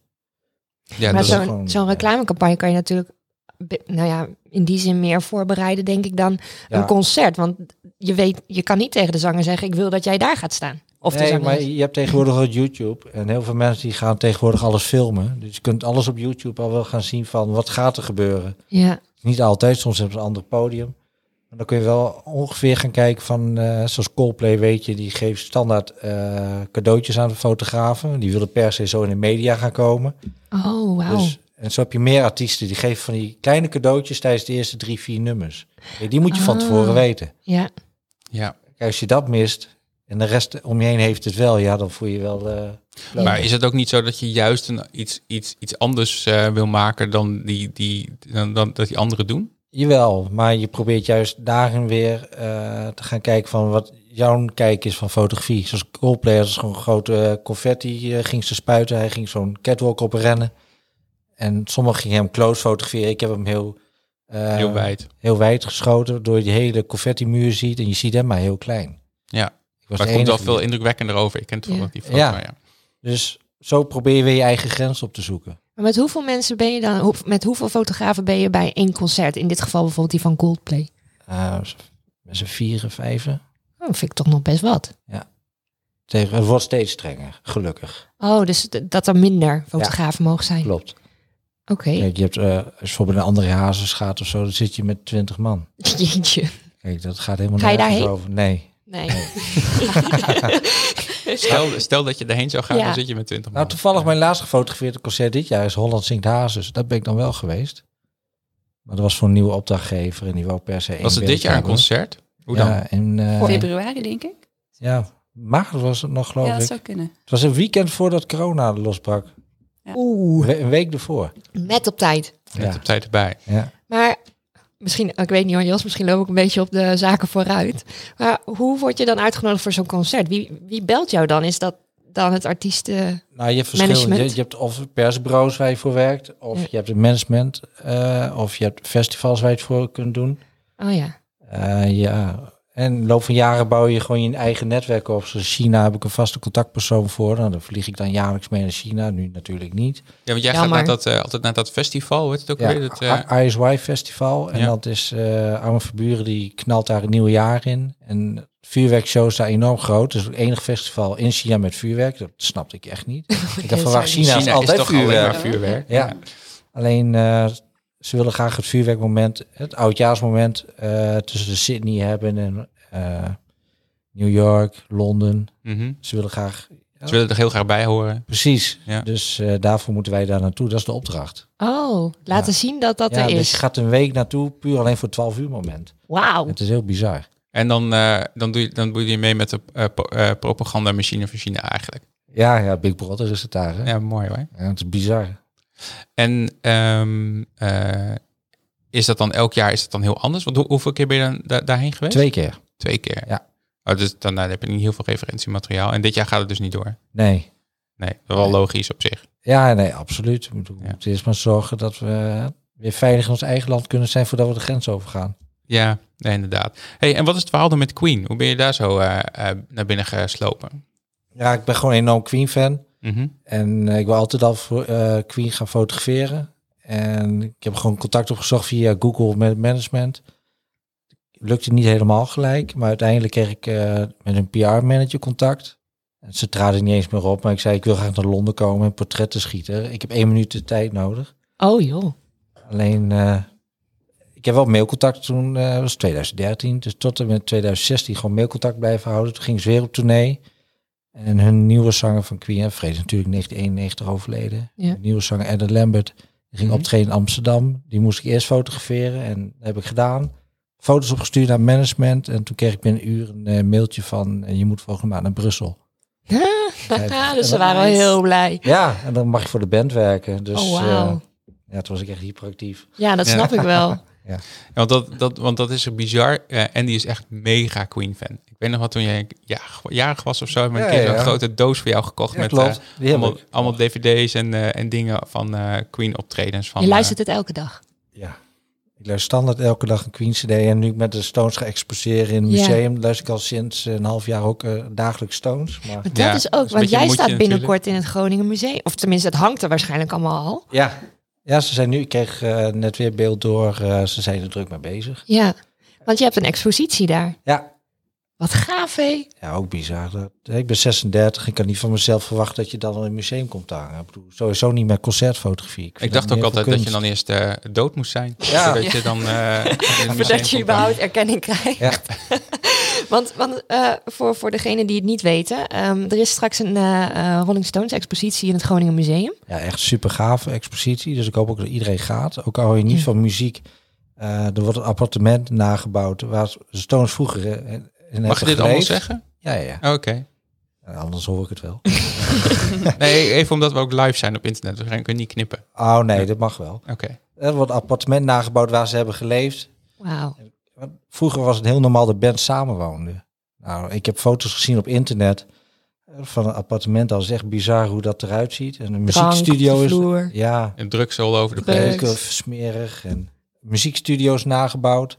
Ja, maar dat is- zo- zo'n gewoon- zo'n reclamecampagne kan je natuurlijk, be- nou ja, in die zin meer voorbereiden, denk ik, dan Ja. een concert. Want je weet, je kan niet tegen de zanger zeggen, ik wil dat jij daar gaat staan. Of de nee, zanger. maar je hebt tegenwoordig al YouTube. En heel veel mensen die gaan tegenwoordig alles filmen. Dus je kunt alles op YouTube al wel gaan zien van wat gaat er gebeuren. Ja, Niet altijd, soms hebben ze een ander podium. Maar dan kun je wel ongeveer gaan kijken van, eh, zoals Coldplay weet je, die geeft standaard eh, cadeautjes aan de fotografen. Die willen per se zo in de media gaan komen. oh wauw. Dus, en zo heb je meer artiesten, die geven van die kleine cadeautjes tijdens de eerste drie, vier nummers. Ja, die moet je van Ah. tevoren weten. ja. ja. Kijk, als je dat mist en de rest om je heen heeft het wel, ja, dan voel je wel... eh, leuk. Maar is het ook niet zo dat je juist een, iets, iets, iets anders eh, wil maken dan, die, die, dan, dan dat die anderen doen? Jawel, maar je probeert juist daarin weer eh, te gaan kijken van wat jouw kijk is van fotografie. Zoals Coldplay, dat is gewoon grote eh, confetti eh, ging ze spuiten. Hij ging zo'n catwalk op rennen. En sommigen gingen hem close fotograferen. Ik heb hem heel, eh, Heel wijd. heel wijd geschoten, waardoor je die hele confetti muur ziet. En je ziet hem maar heel klein. Ja. Ik was Maar de het komt wel enige veel die- indrukwekkender over. Ik ken het Ja. wel die foto. Ja. maar Ja. Dus zo probeer je weer je eigen grens op te zoeken. Maar met hoeveel mensen ben je dan, hoe- met hoeveel fotografen ben je bij één concert? In dit geval bijvoorbeeld die van Coldplay. Eh met z'n vieren, vijven. Oh, vind ik toch nog best wat. Tegen, het wordt steeds strenger, gelukkig. Oh, dus d- dat er minder fotografen mogen zijn. Oké. Klopt. Kijk, je hebt eh, als je bijvoorbeeld een andere hazes gaat of zo, dan zit je met 20 man. Jeetje. Kijk, dat gaat helemaal Ga je nergens daarheen? over. Nee. Nee. Stel, stel dat je erheen zou gaan, Ja. dan zit je met 20 man. Nou, toevallig mijn laatst gefotografeerde concert dit jaar is Holland Zingt Hazes. Daar ben ik dan wel geweest. Maar dat was voor een nieuwe opdrachtgever en die wou per se één Was het beeld dit jaar een hebben. concert? Hoe dan? Ja, en, eh, Februari, denk ik. ja, maart was het nog, geloof Ja, dat ik. zou kunnen. Het was een weekend voordat corona losbrak. Oeh. We- een week ervoor. Net op tijd. Net Ja, op tijd erbij. ja. Maar misschien, ik weet niet hoor, Jos, misschien loop ik een beetje op de zaken vooruit. Maar hoe word je dan uitgenodigd voor zo'n concert? Wie, wie belt jou dan? Is dat dan het artiesten? Nou, je hebt verschillende. Je, Management. je hebt of persbureaus waar je voor werkt, of Ja. je hebt het management, eh, of je hebt festivals waar je het voor kunt doen. Oh ja. Eh, ja, en in de loop van jaren bouw je gewoon je eigen netwerk op. Zoals China heb ik een vaste contactpersoon voor. Nou, dan vlieg ik dan jaarlijks mee naar China. Nu natuurlijk niet. Ja, want jij Jammer. gaat naar dat, eh, altijd naar dat festival, hoe heet het ook Ja, Ah, weer? Dat, eh, I- ISY Festival. En Ja. dat is eh Arme Verburen, die knalt daar een nieuw jaar in. En het vuurwerkshow is daar enorm groot. Dus Het is het enige festival in China met vuurwerk. Dat snapte ik echt niet. ik dacht van waar China, dus- is China is altijd toch alleen vuurwerk. maar vuurwerk. Ja. Alleen eh, ze willen graag het vuurwerkmoment, het oudjaarsmoment eh, tussen de Sydney hebben en eh, New York, Londen. Mhm. Ze willen graag. Ze willen er heel graag bij horen. Precies. Ja. Dus eh, daarvoor moeten wij daar naartoe. Dat is de opdracht. Oh, laten zien dat dat ja, er dus is. je gaat een week naartoe puur alleen voor 12 uur moment. Wauw. Het is heel bizar. En dan, eh, dan, doe je, dan doe je mee met de eh, po- eh, propagandamachine van China eigenlijk. Ja, ja, Big Brother is het daar. Hè? Ja. Ja, mooi hoor. het is bizar. En ehm, eh, is dat dan elk jaar is dat dan heel anders? Want hoe- hoeveel keer ben je dan da- daarheen geweest? Twee keer. Twee keer. Ja. Oh, dus dan, nou, dan heb je niet heel veel referentiemateriaal. En dit jaar gaat het dus niet door. Nee. Nee, dat is wel logisch op zich. Ja, nee, absoluut. We moeten we Ja. moeten eerst maar zorgen dat we weer veilig in ons eigen land kunnen zijn voordat we de grens overgaan. Ja, nee, inderdaad. Hey, en wat is het verhaal dan met Queen? Hoe ben je daar zo eh, eh, naar binnen geslopen? Ja, ik ben gewoon een enorm Queen fan. Mhm. En eh, ik wil altijd al voor, eh, Queen gaan fotograferen. En ik heb gewoon contact opgezocht via Google met het management. lukte niet helemaal gelijk, maar uiteindelijk kreeg ik eh, met een PR-manager contact. En ze traden niet eens meer op, maar ik zei ik wil graag naar Londen komen en portretten schieten. Ik heb één minuut de tijd nodig. Oh joh. Alleen, eh, ik heb wel mailcontact toen, eh, dat was 2013. Dus tot en met 2016 gewoon mailcontact blijven houden. Toen ging ze weer op tournee. En hun nieuwe zanger van Queen en Vrees natuurlijk 1991 overleden. Ja. Hun nieuwe zanger Adam Lambert die ging Mhm. optreden in Amsterdam. Die moest ik eerst fotograferen en dat heb ik gedaan. Foto's opgestuurd naar management. En toen kreeg ik binnen een uur een eh, mailtje van eh, je moet volgende maand naar Brussel. Haha, dus ze waren wel heel blij. Ja, en dan mag je voor de band werken. Dus oh wauw. eh, ja, toen was ik echt hyperactief. ja, dat Ja. snap ik wel. Ja, want, dat, dat, want dat is zo bizar. Eh, Andy is echt mega Queen-fan. Ik weet nog wat toen jij ja, jarig was of zo. Heb ik een Ja, keer ja, zo'n ja. grote doos voor jou gekocht. Ja, met klopt. eh, Die heb allemaal, ik. allemaal dvd's en, eh, en dingen van eh, Queen-optredens. Van, Je eh, luistert het elke dag. Ja. Ik luister standaard elke dag een Queen CD. En nu ik met de Stones ga exposeren in het Ja. museum, luister ik al sinds een half jaar ook eh, dagelijks Stones. Maar Maar dat Ja, is dat is ook, een want beetje jij een staat moedje binnenkort in het Groningen Museum. Of tenminste, het hangt er waarschijnlijk allemaal al. ja. ja, ze zijn nu, ik kreeg eh, net weer beeld door, eh, ze zijn er druk mee bezig. Ja, want je hebt een expositie daar. Ja. Wat gaaf, hé. Ja, ook bizar. Dat- Ik ben 36, ik kan niet van mezelf verwachten dat je dan al in het museum komt hangen. Ik bedoel, sowieso niet met concertfotografie. Ik dacht ook altijd dat je dan eerst eh, dood moest zijn. Ja. Voordat je dan... eh, in het museum Voordat komt je hangen. überhaupt erkenning krijgt. Ja. Want, want eh, voor, voor degenen die het niet weten, ehm, er is straks een eh, eh, Rolling Stones expositie in het Groningen Museum. Ja, echt super gave expositie. Dus ik hoop ook dat iedereen gaat. Ook al hou je niet Ja. van muziek. eh, er wordt een appartement nagebouwd waar de Stones vroeger eh, in hebben Mag je dit allemaal geleefd. zeggen? Oh, Ja, ja, ja. Oké. Ja, Anders hoor ik het wel. Nee, even omdat we ook live zijn op internet. Dus we kunnen niet knippen. Oh nee, dat mag wel. Oké. Er wordt een appartement nagebouwd waar ze hebben geleefd. Wauw. Want Vroeger was het heel normaal dat bands samenwoonden. Nou, ik heb foto's gezien op internet eh, van een appartement. Dat is echt bizar hoe dat eruit ziet. En een Drank op de muziekstudio is... vloer. Ja, En drugs all over de Drugs. place. leuk of smerig. En muziekstudio's nagebouwd.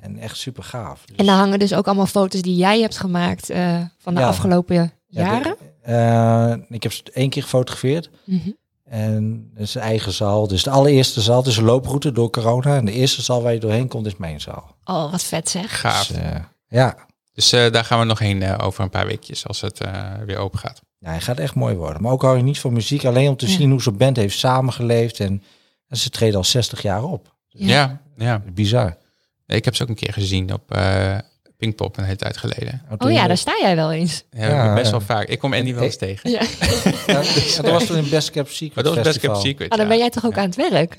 En echt super gaaf. En daar hangen dus ook allemaal foto's die jij hebt gemaakt eh, van de Ja. afgelopen Dus- jaren. Eh, ik heb ze één keer gefotografeerd. Mhm. En het is een eigen zaal. Dus de allereerste zaal. Het is een looproute door corona. En de eerste zaal waar je doorheen komt is mijn zaal. Oh, wat vet zeg. Gaaf. Dus, eh, ja. Dus eh, daar gaan we nog heen eh, over een paar weekjes als het eh, weer open gaat. ja, hij gaat echt mooi worden. Maar ook hou je niet van muziek. Alleen om te Ja. zien hoe zo'n band heeft samengeleefd. En, en ze treden al 60 jaar op. Ja. Ja. ja, Bizar. Oh Nee, Ik heb ze ook een keer gezien op eh Pinkpop een hele tijd geleden. Oh ja, daar sta jij wel eens. Ja, Ja, best ja. e- wel vaak. Ik kom Andy wel eens tegen. Ja. Ja, dat was toen in Best Kept Secret Maar dat was best Festival. Kept Secret. Ah, ja. dan ben jij toch ook aan het werk?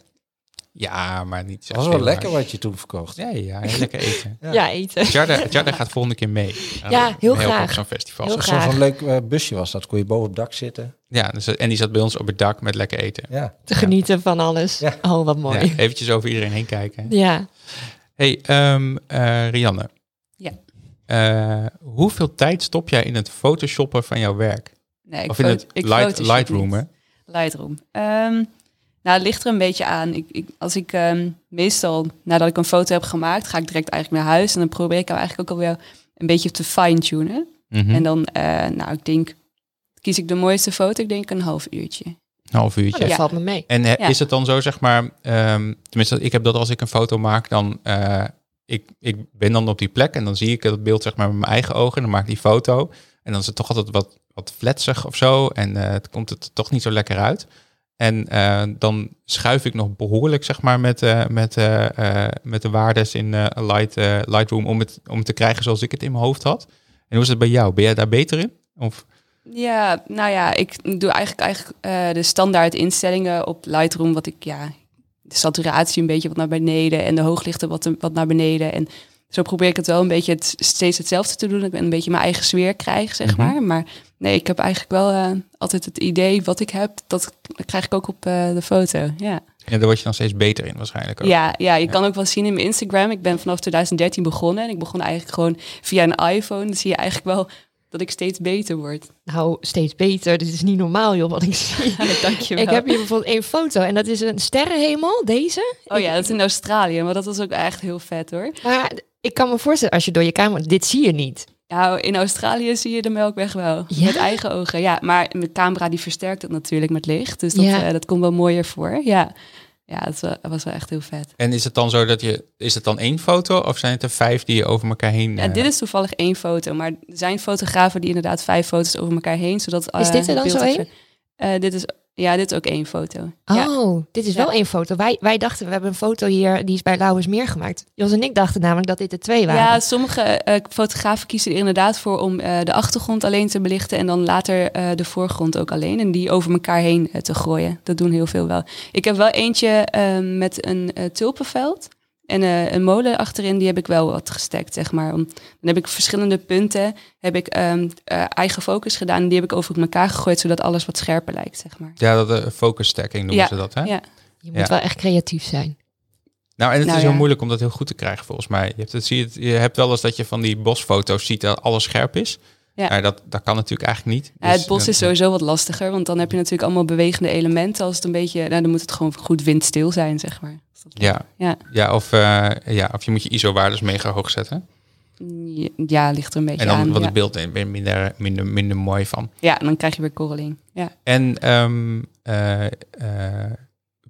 Ja, maar niet zo Dat was wel veel, lekker maar- wat je toen verkocht. Ja, ja, heel lekker eten. Ja. Ja, eten. Jarda, Jarda gaat volgende keer mee. Ja, heel Mee op- graag. Op zo'n festival. Heel Zo'n graag. zo'n leuk eh, busje was dat. Kon je boven op het dak zitten. Ja, dus, en die zat bij ons op het dak met lekker eten. Ja. Te genieten van alles. Ja. Oh, wat mooi. Ja, eventjes over iedereen heen kijken. Ja. Hey, ehm, eh, Rianne. Ja. Eh, hoeveel tijd stop jij in het photoshoppen van jouw werk? Nee, ik of in fo- het ik light, photoshop Lightroom, niet. hè? Lightroom. Ehm, nou, het ligt er een beetje aan. Ik, ik, als ik ehm, meestal, nadat ik een foto heb gemaakt, ga ik direct eigenlijk naar huis. En dan probeer ik hem eigenlijk ook alweer een beetje te fine-tunen. Mhm. En dan, eh, nou, ik denk, kies ik de mooiste foto, ik denk een half uurtje. Een half uurtje. Oh, dat Ja. valt me mee. En eh, Ja. is het dan zo, zeg maar, ehm, tenminste, ik heb dat als ik een foto maak, dan, eh, ik, ik ben dan op die plek en dan zie ik het beeld, zeg maar, met mijn eigen ogen en dan maak ik die foto. En dan is het toch altijd wat, wat fletsig of zo en eh, het komt het toch niet zo lekker uit. En eh, dan schuif ik nog behoorlijk, zeg maar, met, eh, met, eh, eh, met de waardes in eh, Light, eh, Lightroom om het, om het te krijgen zoals ik het in mijn hoofd had. En hoe is het bij jou? Ben jij daar beter in? Of, Ja, nou ja, ik doe eigenlijk, eigenlijk eh, de standaard instellingen op Lightroom. Wat ik, ja, de saturatie een beetje wat naar beneden en de hooglichten wat, wat naar beneden. En zo probeer ik het wel een beetje het, steeds hetzelfde te doen. Dat ik een beetje mijn eigen sfeer krijg, zeg Mhm. maar. Maar nee, ik heb eigenlijk wel eh, altijd het idee wat ik heb, dat krijg ik ook op eh, de foto. Ja. ja, daar word je dan steeds beter in waarschijnlijk ook. Ja, ja, je kan ook wel zien in mijn Instagram. Ik ben vanaf 2013 begonnen en ik begon eigenlijk gewoon via een iPhone. Dan zie je eigenlijk wel dat ik steeds beter word. Nou, steeds beter. Dit is niet normaal, joh, wat ik zie. Dank je wel. Ik heb hier bijvoorbeeld één foto en dat is een sterrenhemel, deze. Oh ja, dat is in Australië, maar dat was ook echt heel vet hoor. Maar ik kan me voorstellen, als je door je kamer... Dit zie je niet. Nou, in Australië zie je de melkweg wel. Ja? Met eigen ogen, ja. Maar mijn camera die versterkt het natuurlijk met licht. Dus dat, Ja. eh, dat komt wel mooier voor, ja. Ja, dat was wel, dat was wel echt heel vet. En is het dan zo dat je, is het dan één foto of zijn het er vijf die je over elkaar heen... Ja, eh, dit is toevallig één foto, maar er zijn fotografen die inderdaad vijf foto's over elkaar heen, zodat Is eh, dit er dan beeld zo op- één? Eh, dit is ja, dit is ook één foto. Ja. Oh, dit is Ja. wel één foto. Wij, wij dachten, we hebben een foto hier, die is bij Lauwersmeer gemaakt. Jos en ik dachten namelijk dat dit er twee waren. Ja, sommige eh, fotografen kiezen er inderdaad voor om eh, de achtergrond alleen te belichten en dan later eh, de voorgrond ook alleen en die over elkaar heen eh, te gooien. Dat doen heel veel wel. Ik heb wel eentje eh, met een eh, tulpenveld en eh, een molen achterin, die heb ik wel wat gestekt, zeg maar. Om, dan heb ik verschillende punten, heb ik ehm, eh, eigen focus gedaan en die heb ik over elkaar gegooid, zodat alles wat scherper lijkt, zeg maar. Ja, dat eh, focus stacking noemen Ja, ze dat, hè? ja. je moet ja. wel echt creatief zijn. Nou, en het Nou is heel ja. moeilijk om dat heel goed te krijgen, volgens mij. Je hebt, het, zie je, het- je hebt wel eens dat je van die bosfoto's ziet dat alles scherp is. Ja. Maar dat, dat kan natuurlijk eigenlijk niet. Ja, Dus het bos dan- is sowieso wat lastiger, want dan heb je natuurlijk allemaal bewegende elementen. Als het een beetje, nou, dan moet het gewoon goed windstil zijn, zeg maar. Als dat- Ja, Ja. ja, of, eh, ja, of je moet je ISO-waardes mega hoog zetten. Ja, ligt er een beetje En dan aan. wordt Ja. het beeld er minder, minder, minder mooi van. ja, dan krijg je weer korreling. Ja. En ehm, eh, eh,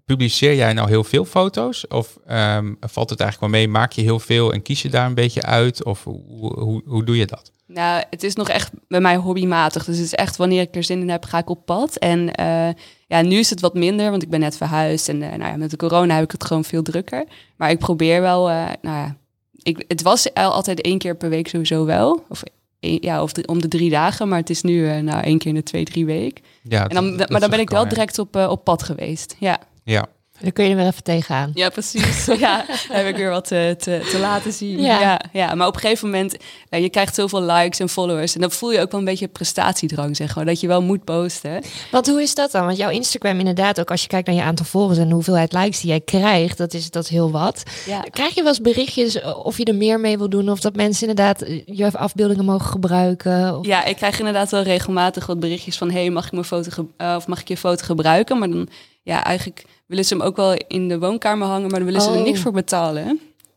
publiceer jij nou heel veel foto's? Of ehm, valt het eigenlijk wel mee? Maak je heel veel en kies je daar een beetje uit? Of hoe, hoe, hoe doe je dat? Nou, het is nog echt bij mij hobbymatig. Dus het is echt wanneer ik er zin in heb, ga ik op pad. En eh, ja, nu is het wat minder, want ik ben net verhuisd. En eh, nou ja, met de corona heb ik het gewoon veel drukker. Maar ik probeer wel, eh, nou ja, ik, het was al altijd één keer per week sowieso wel. Of, één- ja, of drie- om de drie dagen, maar het is nu eh, nou één keer in de twee, drie weken. Ja, En dan, dat- dat maar dan ben zag ik wel al, ja. direct op, eh, op pad geweest. Ja, Ja. Dan kun je er weer even tegenaan. ja precies. ja, dan heb ik weer wat eh, te, te laten zien. Ja. Ja. Ja, maar op een gegeven moment, eh, je krijgt zoveel likes en followers. En dan voel je ook wel een beetje prestatiedrang, zeg maar. Dat je wel moet posten. Want hoe is dat dan? Want jouw Instagram inderdaad, ook als je kijkt naar je aantal volgers en de hoeveelheid likes die jij krijgt, dat is, dat is heel wat. Ja. Krijg je wel eens berichtjes eh, of je er meer mee wil doen of dat mensen inderdaad eh, je afbeeldingen mogen gebruiken? Of... ja, ik krijg inderdaad wel regelmatig wat berichtjes van... hey, mag ik, mijn foto ge- eh, of mag ik je foto gebruiken? Maar dan, ja, eigenlijk willen ze hem ook wel in de woonkamer hangen... maar dan willen ze Oh. er niks voor betalen.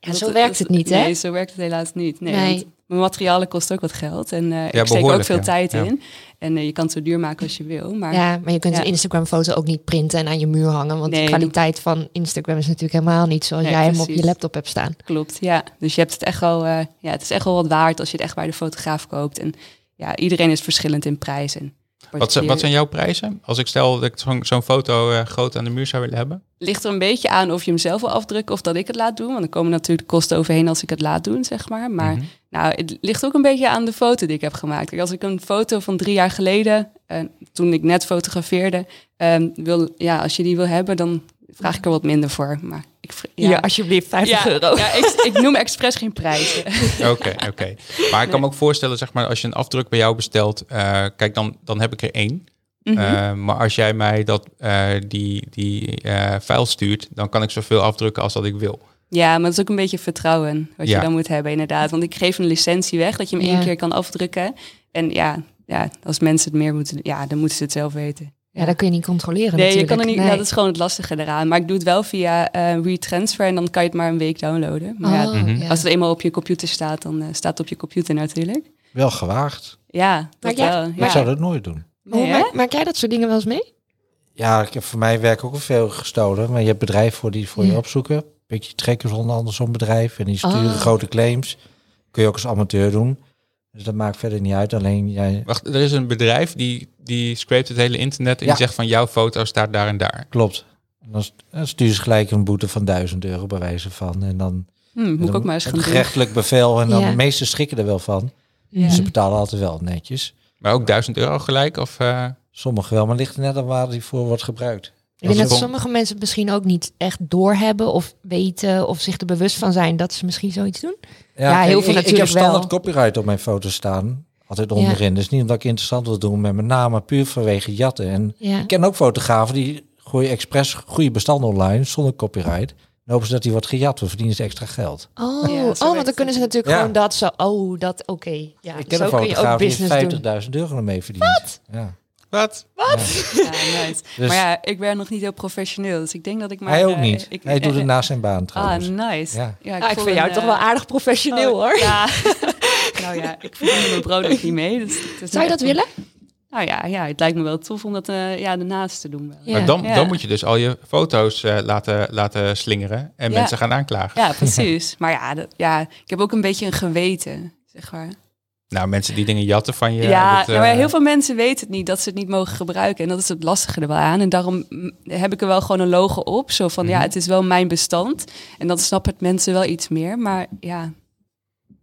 Ja, Dat- zo werkt dat- het niet, hè? Nee, zo werkt het helaas niet. Nee, Nee. want mijn materialen kosten ook wat geld. En eh, ik steek ook behoorlijk, veel ja. tijd Ja. in. En eh, je kan het zo duur maken als je wil. Maar ja, Ja, maar je kunt Ja. een Instagram-foto ook niet printen en aan je muur hangen. Want de Nee. kwaliteit van Instagram is natuurlijk helemaal niet zoals Nee, jij hem op precies. je laptop hebt staan. klopt. Ja. Dus je hebt het echt wel, eh, ja, het is echt wel wat waard als je het echt bij de fotograaf koopt. En ja, iedereen is verschillend in prijs. En Wat, zijn- wat zijn jouw prijzen? Als ik stel dat ik zo'n zo'n foto eh, groot aan de muur zou willen hebben. Ligt er een beetje aan of je hem zelf wil afdrukken of dat ik het laat doen. Want dan komen natuurlijk kosten overheen als ik het laat doen, zeg maar. Maar Mhm. nou, het ligt ook een beetje aan de foto die ik heb gemaakt. Kijk, als ik een foto van drie jaar geleden, eh, toen ik net fotografeerde, eh, wil, ja, als je die wil hebben, dan vraag ik er wat minder voor. Maar ik, vr- ja. alsjeblieft, ja, ja, ik, ik noem expres geen prijzen. Oké, oké. Maar ik kan me ook voorstellen, zeg maar, als je een afdruk bij jou bestelt, eh, kijk, dan, dan heb ik er één. Mhm. Eh, maar als jij mij dat, eh, die, die eh file stuurt, dan kan ik zoveel afdrukken als dat ik wil. Ja, maar dat is ook een beetje vertrouwen wat Ja. je dan moet hebben, inderdaad. Want ik geef een licentie weg, dat je hem Ja. één keer kan afdrukken. En ja, ja, als mensen het meer moeten, ja, dan moeten ze het zelf weten. Ja, dat kun je niet controleren Nee, je natuurlijk. kan er niet. Nee. nou, dat is gewoon het lastige eraan. Maar ik doe het wel via eh retransfer en dan kan je het maar een week downloaden. Maar ja, Oh, Mhm. ja. als het eenmaal op je computer staat, dan eh, staat het op je computer natuurlijk. Wel gewaagd. Ja, dat jij- wel. Ik ja. zou dat nooit doen. Hoe Nee, hè? maak, maak jij dat soort dingen wel eens mee? Ja, ik heb voor mij werk ook al veel gestolen. Maar je hebt bedrijven voor die het voor Ja. je opzoeken. Beetje trekkers onder andere zo'n bedrijf. En die sturen Ah. grote claims. Kun je ook als amateur doen. Dus dat maakt verder niet uit. Alleen jij Wacht, er is een bedrijf die, die scrapt het hele internet en Ja. die zegt van jouw foto staat daar en daar. klopt. En dan st- dan sturen ze gelijk een boete van 1000 euro bij wijze van. En dan Hm, moet ik ook maar eens een gaan doen. gerechtelijk bevel. En dan Ja. Mhm. de meesten schrikken er wel van. Dus ze betalen altijd wel netjes. Maar ook 1000 euro gelijk? Of, eh, Sommigen wel, maar het ligt er net aan waar die voor wordt gebruikt. Ik denk Als dat het- sommige mensen het misschien ook niet echt doorhebben of weten of zich er bewust van zijn dat ze misschien zoiets doen. Ja, heel kijk, veel ik, Ik natuurlijk heb standaard wel. copyright op mijn foto's staan. Altijd Ja. onderin. Dus niet omdat ik interessant wil doen met mijn naam, maar puur vanwege jatten. En Ja. ik ken ook fotografen die gooien expres goede bestanden online zonder copyright. Dan hopen ze dat die wordt gejat. We verdienen ze extra geld. Oh, Ja, zo oh, want werkt dan het. kunnen ze natuurlijk Ja. gewoon dat zo. Oh, dat oké. Ja, ik ken zo een kun je ook fotograaf die business doen. heeft 50.000 euro ermee verdient. Ja. wat? Ja, nice. Dus Maar ja, ik ben nog niet heel professioneel, dus ik denk dat ik maar... hij ook eh, niet. ik- hij doet het naast zijn baan Ah, trouwens. nice. Ja. Ja, Ah, ik voel vind jou een, toch eh, wel aardig professioneel oh, hoor. Ja. nou ja, ik verdien mijn brood ook niet mee. Dus, het is Zou je dat echt een- willen? Nou ja, ja, het lijkt me wel tof om dat eh, ja, daarnaast te doen. Wel. Ja. Maar dan, ja. dan moet je dus al je foto's eh, laten, laten slingeren en Ja. mensen gaan aanklagen. Ja, precies. Maar ja, dat, ja, ik heb ook een beetje een geweten, zeg maar. Nou, mensen die dingen jatten van je. Ja, dat, eh, nou, maar heel veel mensen weten het niet dat ze het niet mogen gebruiken. En dat is het lastige er wel aan. En daarom mm, heb ik er wel gewoon een logo op. Zo van, Mhm. ja, het is wel mijn bestand. En dan snappen het mensen wel iets meer. Maar ja,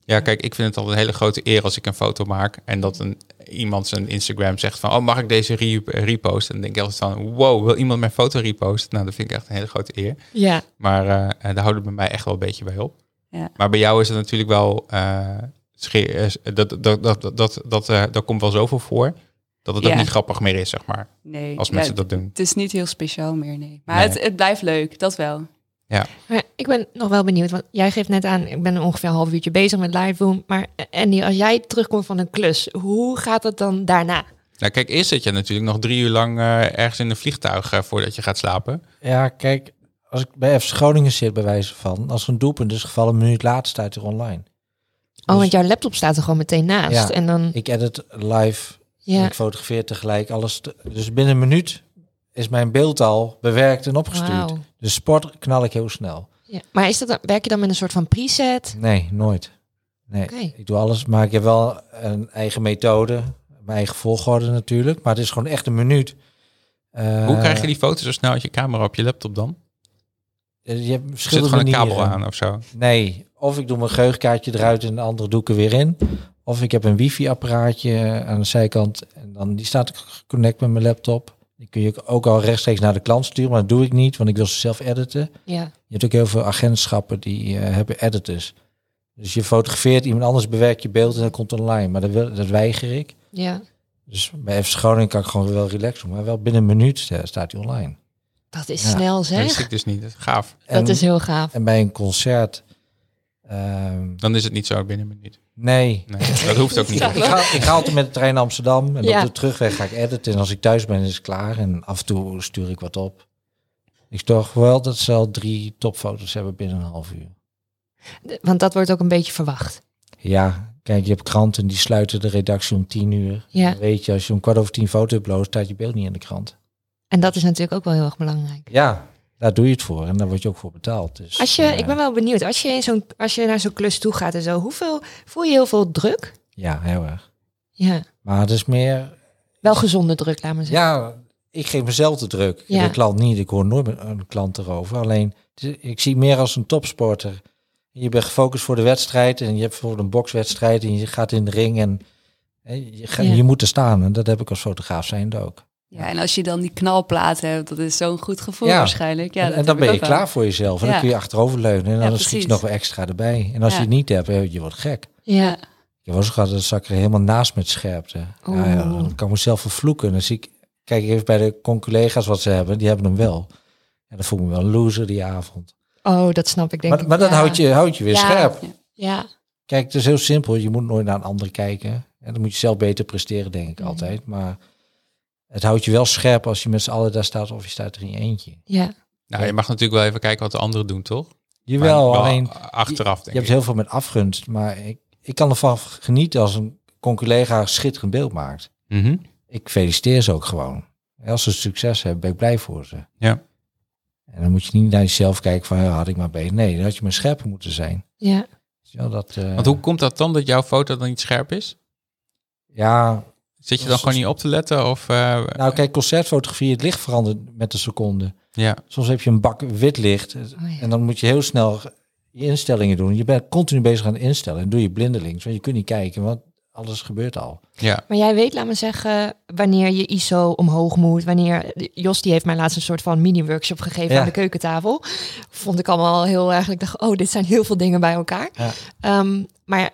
Ja, kijk, ik vind het al een hele grote eer als ik een foto maak en dat een, iemand zijn Instagram zegt van, oh, mag ik deze re- reposten? En dan denk ik altijd van, wow, wil iemand mijn foto reposten? Nou, dat vind ik echt een hele grote eer. Ja, Maar eh, eh, daar houdt het bij mij echt wel een beetje bij op. Ja. Maar bij jou is het natuurlijk wel, eh, sche- eh, dat, dat, dat, dat, dat, dat, eh, daar komt wel zoveel voor, dat het ook Ja. niet grappig meer is, zeg maar, nee. als Ja, mensen dat doen. Het is niet heel speciaal meer, nee. Maar Nee. Het, het blijft leuk, dat wel. maar ik ben nog wel benieuwd, want jij geeft net aan, ik ben ongeveer een half uurtje bezig met Lightroom. Maar eh, Andy, als jij terugkomt van een klus, hoe gaat het dan daarna? Oh, Nou, kijk, eerst zit je natuurlijk nog drie uur lang eh, ergens in een vliegtuig eh, voordat je gaat slapen. Ja, kijk, als ik bij FC Groningen zit, bij wijze van, als er een doelpunt is gevallen, een minuut later staat er online. Oh, Dus want jouw laptop staat er gewoon meteen naast. Ja. En dan, Ik edit live, en ja. ik fotografeer tegelijk alles. te- dus binnen een minuut is mijn beeld al bewerkt en opgestuurd. Wauw. Dus sport knal ik heel snel. Ja. Maar is dat, dan- werk je dan met een soort van preset? Nee, nooit. Nee, Oké. ik doe alles, maar ik heb wel een eigen methode, mijn eigen volgorde natuurlijk. Maar het is gewoon echt een minuut. Eh, Hoe krijg je die foto zo snel uit je camera op je laptop dan? eh, Je hebt verschillende Er zit gewoon een kabel manieren. aan of zo. Nee, of ik doe mijn geheugenkaartje eruit en de andere doe ik er weer in. Of ik heb een wifi-apparaatje aan de zijkant en dan die staat geconnect met mijn laptop. Die kun je ook al rechtstreeks naar de klant sturen, maar dat doe ik niet, want ik wil ze zelf editen. Ja. Je hebt ook heel veel agentschappen die eh, hebben editors. Dus je fotografeert, iemand anders bewerkt je beeld en dat komt online. Maar dat, wil, dat weiger ik. ja. Dus bij FC Groningen kan ik gewoon wel relaxen. Maar wel binnen een minuut eh, staat hij online. Dat is Ja. snel Dat wist zeg. ik dus niet. Dat is Gaaf. En- Dat is heel gaaf. En bij een concert... ehm, Dan is het niet zo binnen een minuut. nee. Nee, dat hoeft ook niet. Ik ga, ik ga altijd met de trein naar Amsterdam. En Ja. op de terugweg ga ik editen. En als ik thuis ben is het klaar. En af en toe stuur ik wat op. Ik zorg wel dat ze al drie topfoto's hebben binnen een half uur. De- Want dat wordt ook een beetje verwacht. Ja, kijk, je hebt kranten die sluiten de redactie om tien uur. Ja. Dan weet je, als je om kwart over tien foto uploadt, staat je beeld niet in de krant. En dat is natuurlijk ook wel heel erg belangrijk. Ja, daar doe je het voor en daar word je ook voor betaald. Dus, Als je, eh, ik ben wel benieuwd, als je, in zo'n, als je naar zo'n klus toe gaat en zo, hoeveel, voel je heel veel druk? Ja, heel erg. Ja, Maar het is meer, wel gezonde druk, laat maar zeggen. ja, ik geef mezelf de druk. Ja. De klant niet, ik hoor nooit een klant erover. Alleen, het is- ik zie meer als een topsporter. Je bent gefocust voor de wedstrijd en je hebt bijvoorbeeld een bokswedstrijd en je gaat in de ring en hè, je, gaat- Ja. je moet er staan. En dat heb ik als fotograaf zijnde ook. Ja, en als je dan die knalplaat hebt, dat is zo'n goed gevoel Ja. waarschijnlijk. Ja, en, dat en dan heb ik ben je ook klaar wel. voor jezelf. En Ja. dan kun je achteroverleunen. En Ja, dan schiet precies. je nog wel extra erbij. En als Ja. je het niet hebt, eh, je wordt gek. Ja. Je was gehad, dan zak ik er helemaal naast met scherpte. Ja, ja, Oeh. dan kan ik mezelf vervloeken. Dan zie ik, kijk ik even bij de conculega's wat ze hebben. Die hebben hem wel. En dan voel ik me wel een loser die avond. Oh, dat snap ik denk Maar, ik. maar dat Ja. houdt, je, houdt je weer Ja. scherp. Ja, Kijk, het is heel simpel. Je moet nooit naar een ander kijken. En dan moet je zelf beter presteren, denk ik Mhm. altijd. Maar het houdt je wel scherp als je met z'n allen daar staat of je staat er in je eentje. ja. Nou, je mag natuurlijk wel even kijken wat de anderen doen, toch? Maar Jawel, alleen achteraf, Je denk hebt ik. heel veel met afgunst, maar ik, ik kan ervan genieten als een conculega een schitterend beeld maakt. Mhm. Ik feliciteer ze ook gewoon. En Als ze succes hebben, ben ik blij voor ze. Ja. En dan moet je niet naar jezelf kijken van, ja, had ik maar beter. Nee, dan had je maar scherper moeten zijn. ja. Weet je wel, dat, eh, Want hoe komt dat dan dat jouw foto dan niet scherp is? Ja, Zit je dan gewoon niet op te letten? Of, eh, nou kijk, concertfotografie, het licht verandert met de seconde. ja. Soms heb je een bak wit licht Oh, ja. en dan moet je heel snel je instellingen doen. Je bent continu bezig aan het instellen. En doe je blindelings, want je kunt niet kijken, want alles gebeurt al. ja. Maar jij weet, laat me zeggen, wanneer je ISO omhoog moet. Wanneer Jos die heeft mij laatst een soort van mini-workshop gegeven Ja. aan de keukentafel. Vond ik allemaal heel erg. Ik dacht, oh, dit zijn heel veel dingen bij elkaar. Ja. Ehm, maar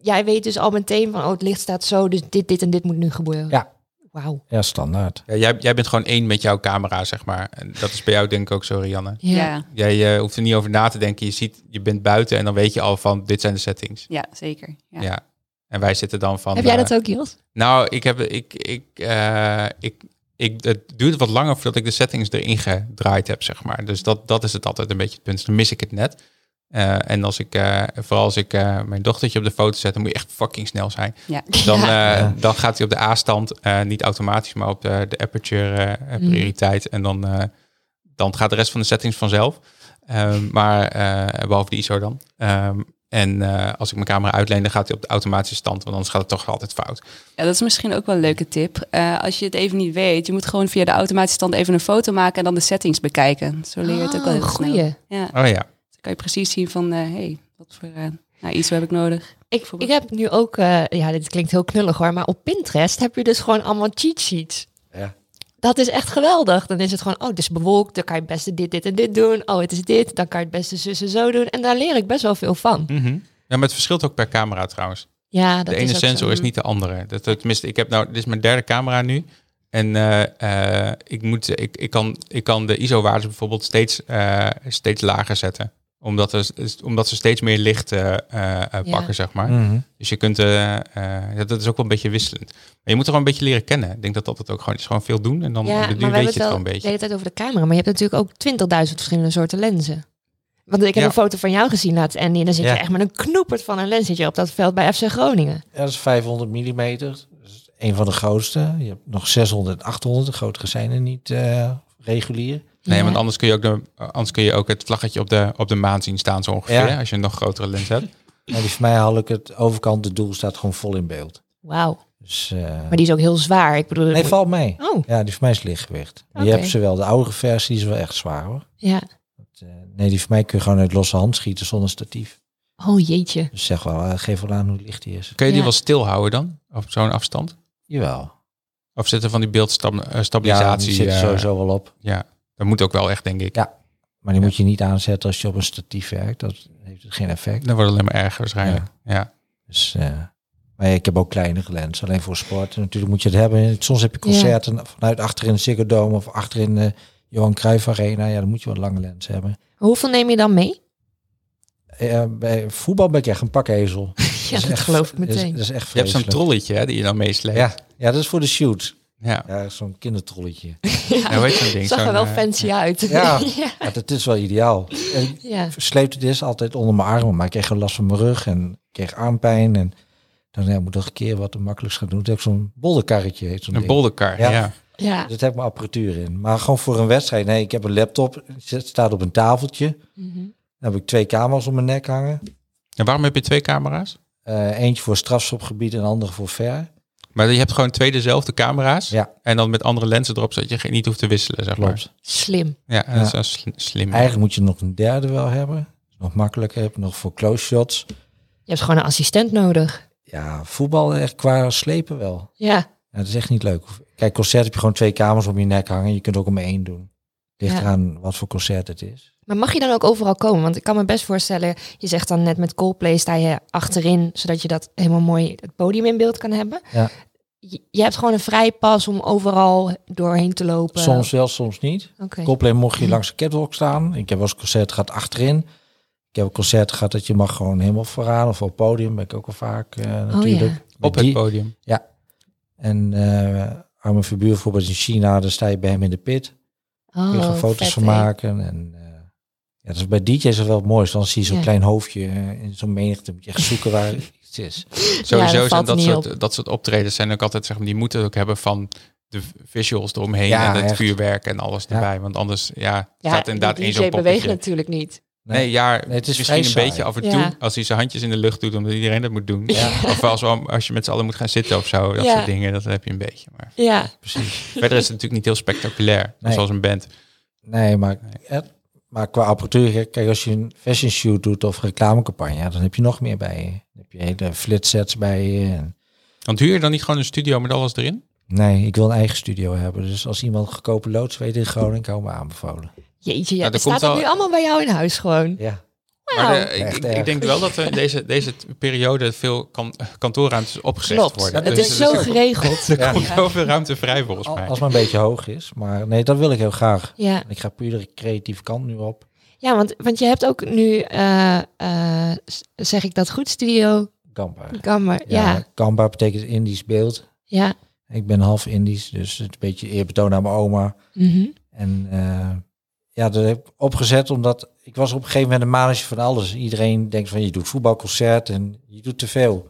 jij weet dus al meteen van, oh, het licht staat zo, dus dit, dit en dit moet nu gebeuren. Ja. Wauw. Ja, standaard. Ja, jij, jij bent gewoon één met jouw camera, zeg maar. En dat is bij jou denk ik ook zo, Rianne. Ja. Ja, Jij eh, hoeft er niet over na te denken. Je, ziet, je bent buiten en dan weet je al van, dit zijn de settings. ja zeker. Ja. Ja. En wij zitten dan van... Heb jij eh, dat ook, Jos? Nou, ik heb ik, ik, eh, ik, ik, het duurt wat langer voordat ik de settings erin gedraaid heb, zeg maar. Dus dat, dat is het altijd een beetje het punt. Dus Dan mis ik het net. Eh, en als ik, eh, vooral als ik eh, mijn dochtertje op de foto zet, dan moet je echt fucking snel zijn. Ja. Dan, Ja. eh, Ja. dan gaat hij op de A-stand, eh, niet automatisch, maar op de, de aperture eh, prioriteit. En dan, eh, dan gaat de rest van de settings vanzelf. Ehm, maar eh, behalve de ISO dan. Ehm, en eh, als ik mijn camera uitleen, dan gaat hij op de automatische stand, want anders gaat het toch altijd fout. Ja, dat is misschien ook wel een leuke tip. Eh, als je het even niet weet, je moet gewoon via de automatische stand even een foto maken en dan de settings bekijken. Zo leer je het ook wel heel Oh, snel. goeie. Ja, dan Oh ja. kan je precies zien van, eh, hey, wat voor eh, nou, ISO heb ik nodig. Ik, ik Bijvoorbeeld. heb nu ook, eh, ja, dit klinkt heel knullig hoor, maar op Pinterest heb je dus gewoon allemaal cheat sheets. Ja. Dat is echt geweldig. Dan is het gewoon, oh, het is bewolkt, dan kan je het beste dit, dit en dit doen. Oh, het is dit, dan kan je het beste zus en zo doen. En daar leer ik best wel veel van. Mhm. ja, maar het verschilt ook per camera trouwens. Ja, dat de is ene ook sensor zo. is niet de andere. Dat, dat, tenminste, ik heb nou, dit is mijn derde camera nu. En eh, eh, ik, moet, ik, ik, kan, ik kan de ISO-waardes bijvoorbeeld steeds, eh, steeds lager zetten. Omdat, er, omdat ze steeds meer licht eh, eh, eh, pakken, zeg maar. Mhm. Dus je kunt, eh, eh, ja, dat is ook wel een beetje wisselend. Maar je moet er gewoon een beetje leren kennen. Ik denk dat dat het ook gewoon is. Gewoon veel doen en dan Ja, op maar de we duur hebben weet het je het wel gewoon een de beetje. hele tijd over de camera. Maar je hebt natuurlijk ook 20.000 verschillende soorten lenzen. Want ik heb Ja. een foto van jou gezien laatst, Andy. En dan zit Ja. je echt met een knoepert van een lens zit je op dat veld bij FC Groningen. Ja, dat is 500 mm. Dat is een van de grootste. Je hebt nog 600 en 800. De grotere zijn er niet eh, regulier. Nee, Ja. want anders kun je ook, de, anders kun je ook het vlaggetje op de, op de maan zien staan, zo ongeveer. Ja. Als je een nog grotere lens hebt. Maar die van mij haal ik het overkant. De doel staat gewoon vol in beeld. Wauw. Dus, eh, Maar die is ook heel zwaar. Ik bedoel, nee, valt mee. Oh, Ja, die van mij is lichtgewicht. Je Oké. hebt ze wel. De oudere versie is wel echt zwaar hoor. ja. Eh, nee, die van mij kun je gewoon uit losse hand schieten zonder statief. Oh jeetje. Dus zeg wel, eh, geef wel aan hoe licht die is. Kun je die Ja. wel stilhouden dan? Op zo'n afstand? Jawel. Of zitten van die Ja, die beeldstabilisatie? zit er sowieso wel op. ja, eh, dat moet ook wel echt, denk ik. Ja. Maar die Ja. moet je niet aanzetten als je op een statief werkt. Dat heeft geen effect. Dan wordt het alleen maar erger waarschijnlijk. Ja. Dus, eh, maar ja, ik heb ook kleinere lens, alleen voor sport. En natuurlijk moet je het hebben. Soms heb je concerten vanuit achter in de Ziggo Dome of achter in de Johan Cruijff Arena. Ja, dan moet je wel een lange lens hebben. Hoeveel neem je dan mee? Eh, bij voetbal ben ik echt een pakezel. ja, Ja, dat, geloof ik Dat is, meteen. dat is echt Je hebt zo'n vreselijk. trolletje hè, die je dan meesleept. Ja, ja, dat is voor de shoot. ja. Ja, zo'n kindertrolletje. Ja, hoe heet zo'n ding? zag er Zo'n, wel eh, fancy uit. Ja. ja. Ja, dat is wel ideaal. En ik Ja. sleepte het eerst altijd onder mijn armen, maar ik kreeg wel last van mijn rug en ik kreeg armpijn. En dan ja, moet ik nog een keer wat het makkelijkst gaan doen. Toen heb ik zo'n bolderkarretje. Heet zo'n Een ding. bolderkar, ja. Ja. ja. Ja. Dus Dat heb ik mijn apparatuur in. Maar gewoon voor een wedstrijd. Nee, ik heb een laptop. Het staat op een tafeltje. Mhm. Dan heb ik twee camera's om mijn nek hangen. En waarom heb je twee camera's? Eh, eentje voor strafschopgebied en de andere voor ver. Maar je hebt gewoon twee dezelfde camera's. Ja. En dan met andere lenzen erop, zodat je geen- niet hoeft te wisselen, zeg maar. Klopt. Slim. Ja, en Ja. dat is wel sli- slim. Eigenlijk moet je nog een derde wel hebben. Nog makkelijker. Heb je nog voor close shots. Je hebt gewoon een assistent nodig. Ja, voetbal echt qua slepen wel. Ja. Ja, dat is echt niet leuk. Kijk, concert heb je gewoon twee kamers om je nek hangen. Je kunt ook om één doen. Ligt Ja. eraan wat voor concert het is. Maar mag je dan ook overal komen? Want ik kan me best voorstellen, je zegt dan net met Coldplay sta je achterin, zodat je dat helemaal mooi het podium in beeld kan hebben. Ja. Je, je hebt gewoon een vrij pas om overal doorheen te lopen. Soms wel, soms niet. Oké. Coldplay mocht Mhm. je langs de catwalk staan. Ik heb wel eens concert gehad achterin. Ik heb een concert gehad dat je mag gewoon helemaal vooraan of op het podium. Ben ik ook al vaak eh, Oh, natuurlijk. Met Op het die- podium. En eh Armin Verbuur bijvoorbeeld in China, daar sta je bij hem in de pit. Oh, Kun je gewoon foto's vet, van hè? maken. En, eh, ja, dat is bij DJ's is dat wel het mooiste. Dan zie je zo'n Ja. klein hoofdje eh, in zo'n menigte. Moet je echt zoeken waar iets is. Sowieso dat zijn valt dat niet soort, dat soort optredens zijn ook altijd, zeg maar, die moeten het ook hebben van de visuals eromheen Ja, en het echt. vuurwerk en alles Ja. erbij. Want anders, ja, Ja, staat inderdaad die één DJ zo'n beweegt poppetje. natuurlijk niet. Nee, ja, Nee, het is misschien vrij een saai. beetje af en toe. Ja. Als hij zijn handjes in de lucht doet, omdat iedereen dat moet doen. Ja. Of als, we- als je met z'n allen moet gaan zitten of zo. Dat Ja. soort dingen, dat heb je een beetje. Maar Ja, Precies. verder is het natuurlijk niet heel spectaculair. Nee. Zoals een band. Nee, maar, eh, maar qua apparatuur, kijk, als je een fashion shoot doet of reclamecampagne, ja, dan heb je nog meer bij je. Dan heb je hele flitsets bij je. En Want huur je dan niet gewoon een studio met alles erin? Nee, ik wil een eigen studio hebben. Dus als iemand goedkope loods weet in Groningen, komen we aanbevolen. jeetje, ja. Nou, er dat komt staat het al- nu allemaal bij jou in huis gewoon. Ja. Maar de- Echt ik, ik, erg. ik denk wel dat er in deze, deze periode veel kan, kantoorruimtes opgezegd Klopt, worden. het Dus is er zo geregeld. Er komt zoveel ruimte vrij volgens Al- mij. Als het maar een beetje hoog is. Maar nee, dat wil ik heel graag. Ja, En Ik ga puur de creatieve kant nu op. ja want, want je hebt ook nu, eh, eh, s- zeg ik dat goed, Studio Kampa. Gammer. Ja, Kampa betekent Indisch beeld. ja. Ik ben half Indisch, dus het is een beetje eerbetoon aan mijn oma. Mhm. En eh, ja, dat heb ik opgezet omdat ik was op een gegeven moment een manager van alles. Iedereen denkt van je doet voetbalconcert en je doet te veel.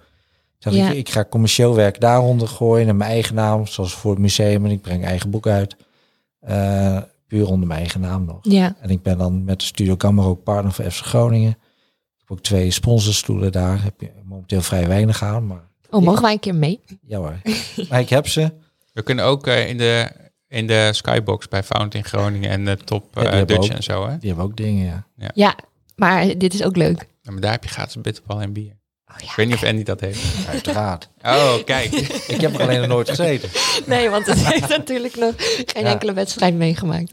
Toen dacht Ja. ik, ik ga commercieel werk daaronder gooien en mijn eigen naam, zoals voor het museum en ik breng eigen boek uit. Eh, puur onder mijn eigen naam nog. Ja, En ik ben dan met de Studio Kamer ook partner van FC Groningen. Ik heb ook twee sponsorstoelen daar. Heb je momenteel vrij weinig aan, maar oh, mogen wij een keer mee? ja hoor. maar ik heb ze. We kunnen ook eh, in, de, in de skybox bij Fountain in Groningen en de top Ja, die eh, hebben Dutch ook. en zo. Hè? Die hebben ook dingen, ja. Ja, maar dit is ook leuk. Ja, maar daar heb je gratis bitterbal en bier. Oh, Ik weet niet of Andy dat heeft. Uiteraard. Oh, kijk. ik heb er alleen nog nooit gezeten. Nee, want het heeft natuurlijk nog geen Ja. enkele wedstrijd meegemaakt.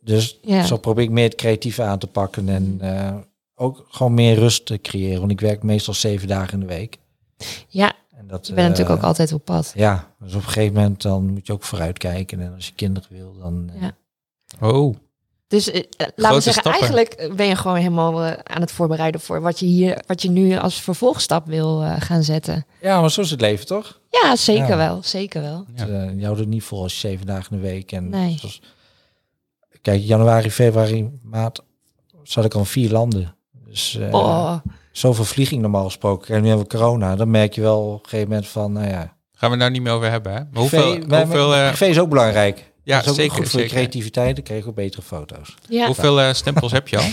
Dus Ja. Mm. zo probeer ik meer het creatieve aan te pakken en eh, ook gewoon meer rust te creëren. Want ik werk meestal zeven dagen in de week. Ja, En dat, eh, je bent natuurlijk ook altijd op pad. Ja, dus op een gegeven moment dan moet je ook vooruitkijken. En als je kinderen wil, dan... eh, Ja. Oh, Dus eh, eh, laten we Grote zeggen, stappen. eigenlijk ben je gewoon helemaal eh, aan het voorbereiden voor wat je hier, wat je nu als vervolgstap wil eh, gaan zetten. ja, maar zo is het leven toch? Ja, zeker Ja. wel, zeker wel. Ja. Eh, je houdt het niet vol als je zeven dagen in de week. En Nee. zoals- kijk, januari, februari, maart zat ik al in vier landen. Dus eh, oh, zoveel vlieging normaal gesproken. En nu hebben we corona. Dan merk je wel op een gegeven moment van, nou ja. gaan we het nou niet meer over hebben. Hè? Maar hoeveel, privé- maar- hoeveel, eh, maar privé is ook belangrijk. Ja, dat is ook zeker, goed voor je zeker. creativiteit. Dan krijg je ook betere foto's. ja. hoeveel eh, stempels heb je al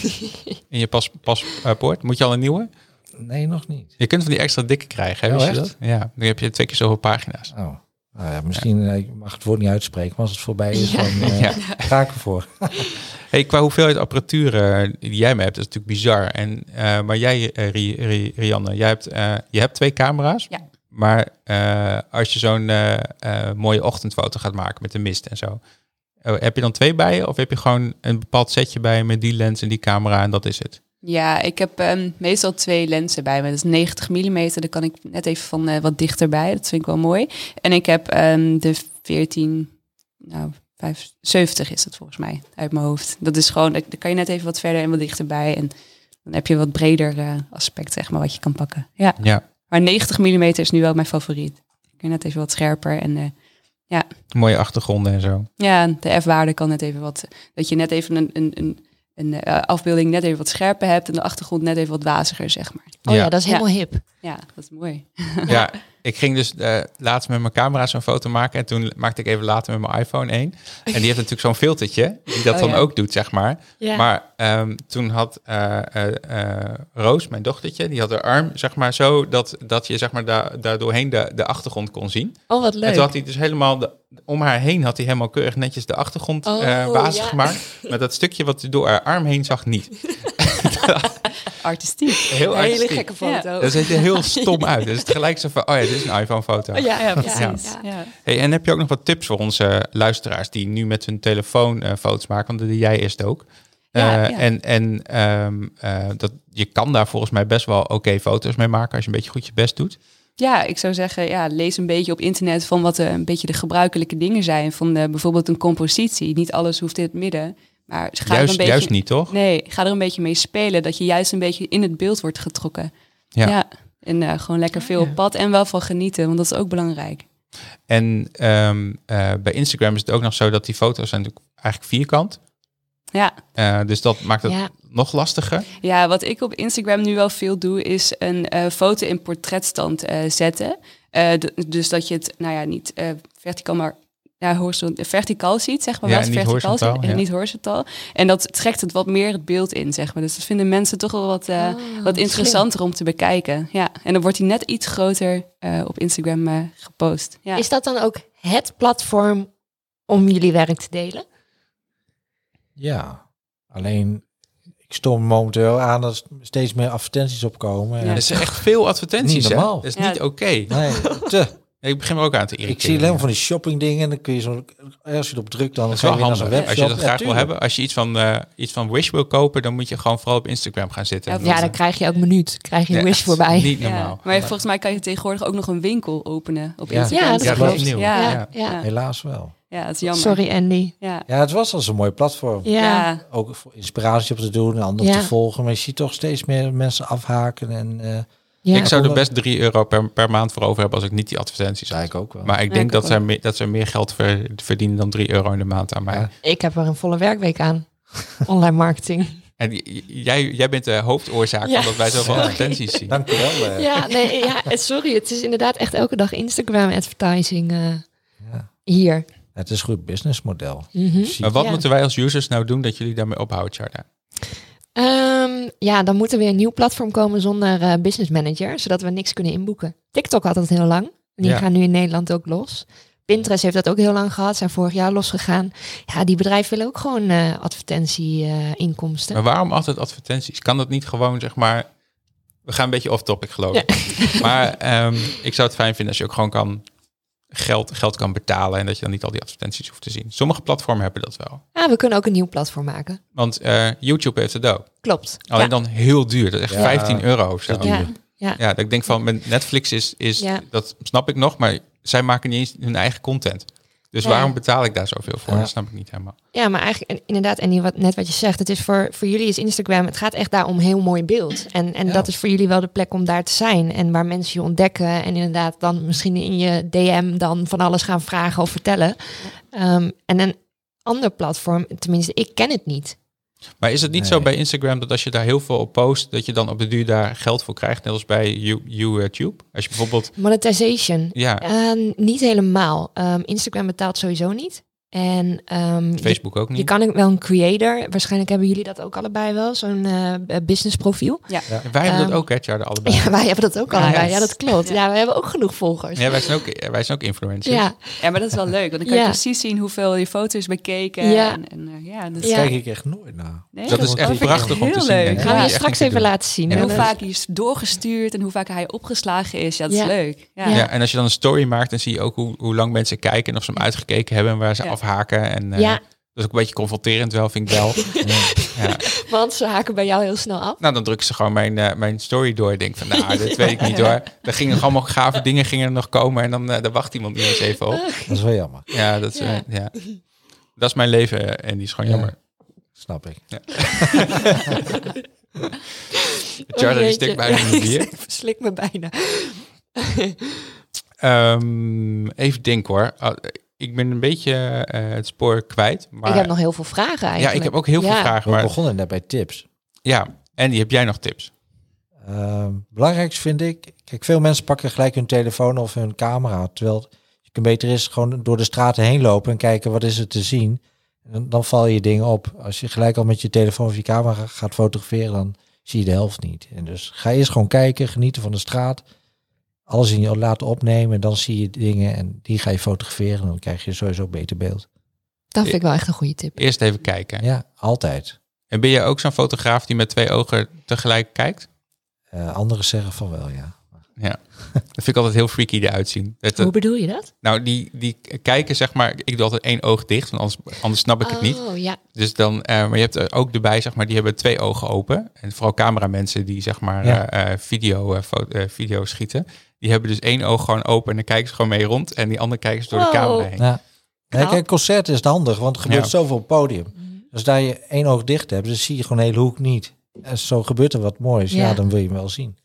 in je pas, paspoort? Moet je al een nieuwe? Nee, nog niet. Je kunt van die extra dikke krijgen, hè? Oh, wist je echt? dat? Ja, dan heb je twee keer zoveel pagina's. Oh. Nou ja, misschien, eh, ik mag het woord niet uitspreken, maar als het voorbij is, Ja. dan eh, Ja. ga ik ervoor. Hey, qua hoeveelheid apparatuur eh, die jij me hebt, dat is natuurlijk bizar. En, eh, maar jij, eh, Ri- Ri- Rianne, jij hebt, eh, je hebt twee camera's. Ja. Maar eh, als je zo'n eh, eh, mooie ochtendfoto gaat maken met de mist en zo, eh, heb je dan twee bij je? Of heb je gewoon een bepaald setje bij je met die lens en die camera en dat is het? Ja, ik heb ehm, meestal twee lenzen bij me. Dat is 90 mm, daar kan ik net even van eh, wat dichterbij. Dat vind ik wel mooi. En ik heb ehm, de 14, nou, 75 is dat volgens mij uit mijn hoofd. Dat is gewoon, daar daar kan je net even wat verder en wat dichterbij. En dan heb je een wat breder eh, aspect, zeg maar, wat je kan pakken. Ja, Ja. maar 90 mm is nu wel mijn favoriet. Dan kun je net even wat scherper en eh, Mooie achtergronden en zo. ja, de F-waarde kan net even wat. Dat je net even een, een, een, een eh, afbeelding net even wat scherper hebt en de achtergrond net even wat waziger, zeg maar. Oh ja. Ja. dat is helemaal hip. Ja, dat is mooi. Ja, ik ging dus eh, laatst met mijn camera zo'n foto maken. En toen maakte ik even later met mijn iPhone 1. En die heeft natuurlijk zo'n filtertje. Die dat Oh dan ja. ook doet, zeg maar. Ja. Maar ehm, toen had eh, eh, eh, Roos, mijn dochtertje, die had haar arm, zeg maar, zo dat, dat je zeg maar, daar, daar doorheen de, de achtergrond kon zien. Oh, wat En leuk. toen had hij dus helemaal de- om haar heen had hij helemaal keurig netjes de achtergrond Oh, eh, wazig ja. gemaakt. Maar dat stukje wat hij door haar arm heen zag, niet. Artistiek. Heel Een hele artistiek. gekke foto. Dat ziet er heel stom uit. Dus tegelijk zo van, oh ja, dit is een iPhone-foto. Ja, ja, precies. Ja. Hey, en heb je ook nog wat tips voor onze luisteraars die nu met hun telefoon eh, foto's maken? Want dat deed jij eerst ook. Ja, Eh, ja. En, en ehm, eh, dat, je kan daar volgens mij best wel oké foto's mee maken als je een beetje goed je best doet. Ja, ik zou zeggen, ja, lees een beetje op internet van wat eh, een beetje de gebruikelijke dingen zijn. Van eh, bijvoorbeeld een compositie. Niet alles hoeft in het midden. Maar ga er juist, een beetje, juist niet, toch? Nee, ga er een beetje mee spelen. Dat je juist een beetje in het beeld wordt getrokken. Ja. Ja. En eh, gewoon lekker veel ja. op pad en wel van genieten, want dat is ook belangrijk. En ehm, eh, bij Instagram is het ook nog zo dat die foto's zijn natuurlijk eigenlijk vierkant. Ja. Eh, dus dat maakt het Ja. nog lastiger. Ja, wat ik op Instagram nu wel veel doe, is een eh, foto in portretstand eh, zetten. Eh, d- dus dat je het, nou ja, niet eh, verticaal, maar ja, horizon- eh, verticaal ziet, zeg maar. Ja, wel eens en niet verticaal horizontaal, en ja. niet horizontaal. En dat trekt het wat meer het beeld in, zeg maar. Dus dat vinden mensen toch wel wat, eh, Ah, wat interessanter om te bekijken. Ja, en dan wordt hij net iets groter eh, op Instagram eh, gepost. Ja. Is dat dan ook het platform om jullie werk te delen? Ja, alleen ik stoor me momenteel aan dat er steeds meer advertenties opkomen. Ja. Er En, zijn echt veel advertenties. Niet hè? normaal. Dat is Ja. niet oké. nee, te. Ik begin me ook aan te irriteren. Ik zie alleen maar van die shoppingdingen. En dan kun je zo, als je erop drukt, dan Dat is ga je wel weer naar zo'n handig. Als je webshop. dat Ja, graag wil tuurlijk. hebben, als je iets van, eh, iets van Wish wil kopen, dan moet je gewoon vooral op Instagram gaan zitten. Ja, Want, Ja, dan eh, krijg je ook minuut. Krijg je ja, wish echt voorbij. Niet Ja. normaal. Maar volgens mij kan je tegenwoordig ook nog een winkel openen op Ja. Instagram. Ja, dat Ja, dat klopt. is nieuw. Ja, Ja, ja. ja. Helaas wel. dat is jammer. Sorry, Andy. Ja. Ja, het was al zo'n mooi platform. Ja. ja. Ook voor inspiratie op te doen en anderen Ja. te volgen. Maar je ziet toch steeds meer mensen afhaken. En eh Ja. Ik zou er Omdat- best 3 euro per, per maand voor over hebben als ik niet die advertenties zei had. ik ook wel. Maar ik Ja, denk ik dat, ook zij meer, dat zij meer geld ver- verdienen dan 3 euro in de maand aan mij. Ja. Ik heb er een volle werkweek aan. Online marketing. En j- j- jij, jij bent de hoofdoorzaak Ja, omdat wij zoveel sorry. advertenties zien. Dank u wel. eh. Ja, nee, ja, het- sorry. Het is inderdaad echt elke dag Instagram advertising eh, Ja. hier. Het is een goed businessmodel. Mhm. Maar wat Ja. moeten wij als users nou doen dat jullie daarmee ophouden, Charda? Ehm, ja, dan moet er weer een nieuw platform komen zonder eh, business manager, zodat we niks kunnen inboeken. TikTok had dat heel lang. Die Ja. gaan nu in Nederland ook los. Pinterest heeft dat ook heel lang gehad, zijn vorig jaar losgegaan. Ja, die bedrijven willen ook gewoon eh advertentie-inkomsten. Maar waarom altijd advertenties? Kan dat niet gewoon, zeg maar... We gaan een beetje off-topic, geloof ik. Maar ehm, ik zou het fijn vinden als je ook gewoon kan geld, geld kan betalen... en dat je dan niet al die advertenties hoeft te zien. Sommige platformen hebben dat wel. ah, we kunnen ook een nieuw platform maken. Want eh, YouTube heeft het ook. Klopt. Alleen ja. dan heel duur. Dat is echt Ja. 15 euro of zo. Dat ja. duur. Ja, dat ik denk van met Netflix is, is Ja. dat snap ik nog, maar zij maken niet eens hun eigen content. Dus Ja. waarom betaal ik daar zoveel voor? Ja. Dat snap ik niet helemaal. Ja, maar eigenlijk en- inderdaad, en die wat, net wat je zegt, het is voor, voor jullie is Instagram, het gaat echt daar om heel mooi beeld. En, en Ja. dat is voor jullie wel de plek om daar te zijn en waar mensen je ontdekken en inderdaad dan misschien in je DM dan van alles gaan vragen of vertellen. Ehm, en een ander platform, tenminste, ik ken het niet. Maar is het niet Nee. zo bij Instagram dat als je daar heel veel op post, dat je dan op de duur daar geld voor krijgt, net als bij You- YouTube? Als je bijvoorbeeld, Monetization, ja, Ehm, niet helemaal. Ehm, Instagram betaalt sowieso niet. En ehm, je- Facebook ook Je niet. kan ook wel een creator, waarschijnlijk hebben jullie dat ook allebei wel, zo'n eh business profiel. En wij hebben dat Ehm, ook, hè, Tjarde, allebei. Ja, wij hebben dat ook Ja, allebei. ja. Ja, dat klopt. Ja. Ja, wij hebben ook genoeg volgers. Ja, wij zijn ook, wij zijn ook influencers. Ja, Ja, maar dat is wel leuk, want dan kan je Ja. precies zien hoeveel je foto's bekeken. Ja. En, en, eh, ja, dat, Daar Ja. kijk ik echt nooit naar. nee, Dat is moet echt ik- prachtig om heel te zien. leuk. denk ik. Ja. gaan we je Echt straks niet te even doen. laten zien. En En Ja, hoe dat- vaak hij is doorgestuurd en hoe vaak hij opgeslagen is. Ja, dat is Ja. leuk. Ja. Ja, en als je dan een story maakt, dan zie je ook hoe, hoe lang mensen kijken en of ze hem uitgekeken hebben en waar ze Ja. afhaken. En, eh, Ja. Dat is ook een beetje confronterend wel, vind ik wel. ja. want ze haken bij jou heel snel af. Nou, dan drukken ze gewoon mijn, eh, mijn story door. Ik denk van, nou, dit weet ik niet hoor. Er gingen nog allemaal gave dingen gingen er nog komen. En dan eh, daar wacht iemand niet eens even op. Dat is wel jammer. Ja, dat is, eh, ja. Dat is mijn leven eh, en die is gewoon Ja. Oh, jammer. Snap ik. Charlie Oh, die jeetje. stikt bijna in Ja, de ik bier. stik- verslik me bijna. Ehm, even denken hoor. Ah, ik ben een beetje eh, het spoor kwijt. Maar, ik heb nog heel veel vragen eigenlijk. ja, ik heb ook heel veel Ja. vragen. We Maar, begonnen net bij tips. ja, en die heb jij nog tips? Ehm, belangrijkste vind ik, kijk, veel mensen pakken gelijk hun telefoon of hun camera. Terwijl het beter is gewoon door de straten heen lopen en kijken wat is er te zien. En dan val je dingen op. Als je gelijk al met je telefoon of je camera gaat fotograferen, dan zie je de helft niet. En dus ga eerst gewoon kijken, genieten van de straat. Alles in je laten opnemen, dan zie je dingen en die ga je fotograferen. en Dan krijg je sowieso een beter beeld. Dat vind ik wel echt een goede tip. Eerst even kijken. Ja, altijd. En ben jij ook zo'n fotograaf die met twee ogen tegelijk kijkt? Eh, anderen zeggen van wel, ja. Dat vind ik altijd heel freaky eruit zien. Dat- dat- Hoe bedoel je dat? Nou, die, die kijken, zeg maar, ik doe altijd één oog dicht, want anders, anders snap ik het niet. Oh ja. Dus dan, eh, maar je hebt er ook erbij, zeg maar, die hebben twee ogen open. En vooral cameramensen die, zeg maar, Ja. eh, eh, video, eh, fo- eh, video schieten. Die hebben dus één oog gewoon open en dan kijken ze gewoon mee rond. En die andere kijken ze door Wow. de camera heen. ja. Nee, Nou. kijk, concert is het handig, want er gebeurt Ja. zoveel op het podium. Mhm. Als daar je één oog dicht hebt, dan zie je gewoon de hele hoek niet. En zo gebeurt er wat moois. Ja, Ja. dan wil je hem wel zien.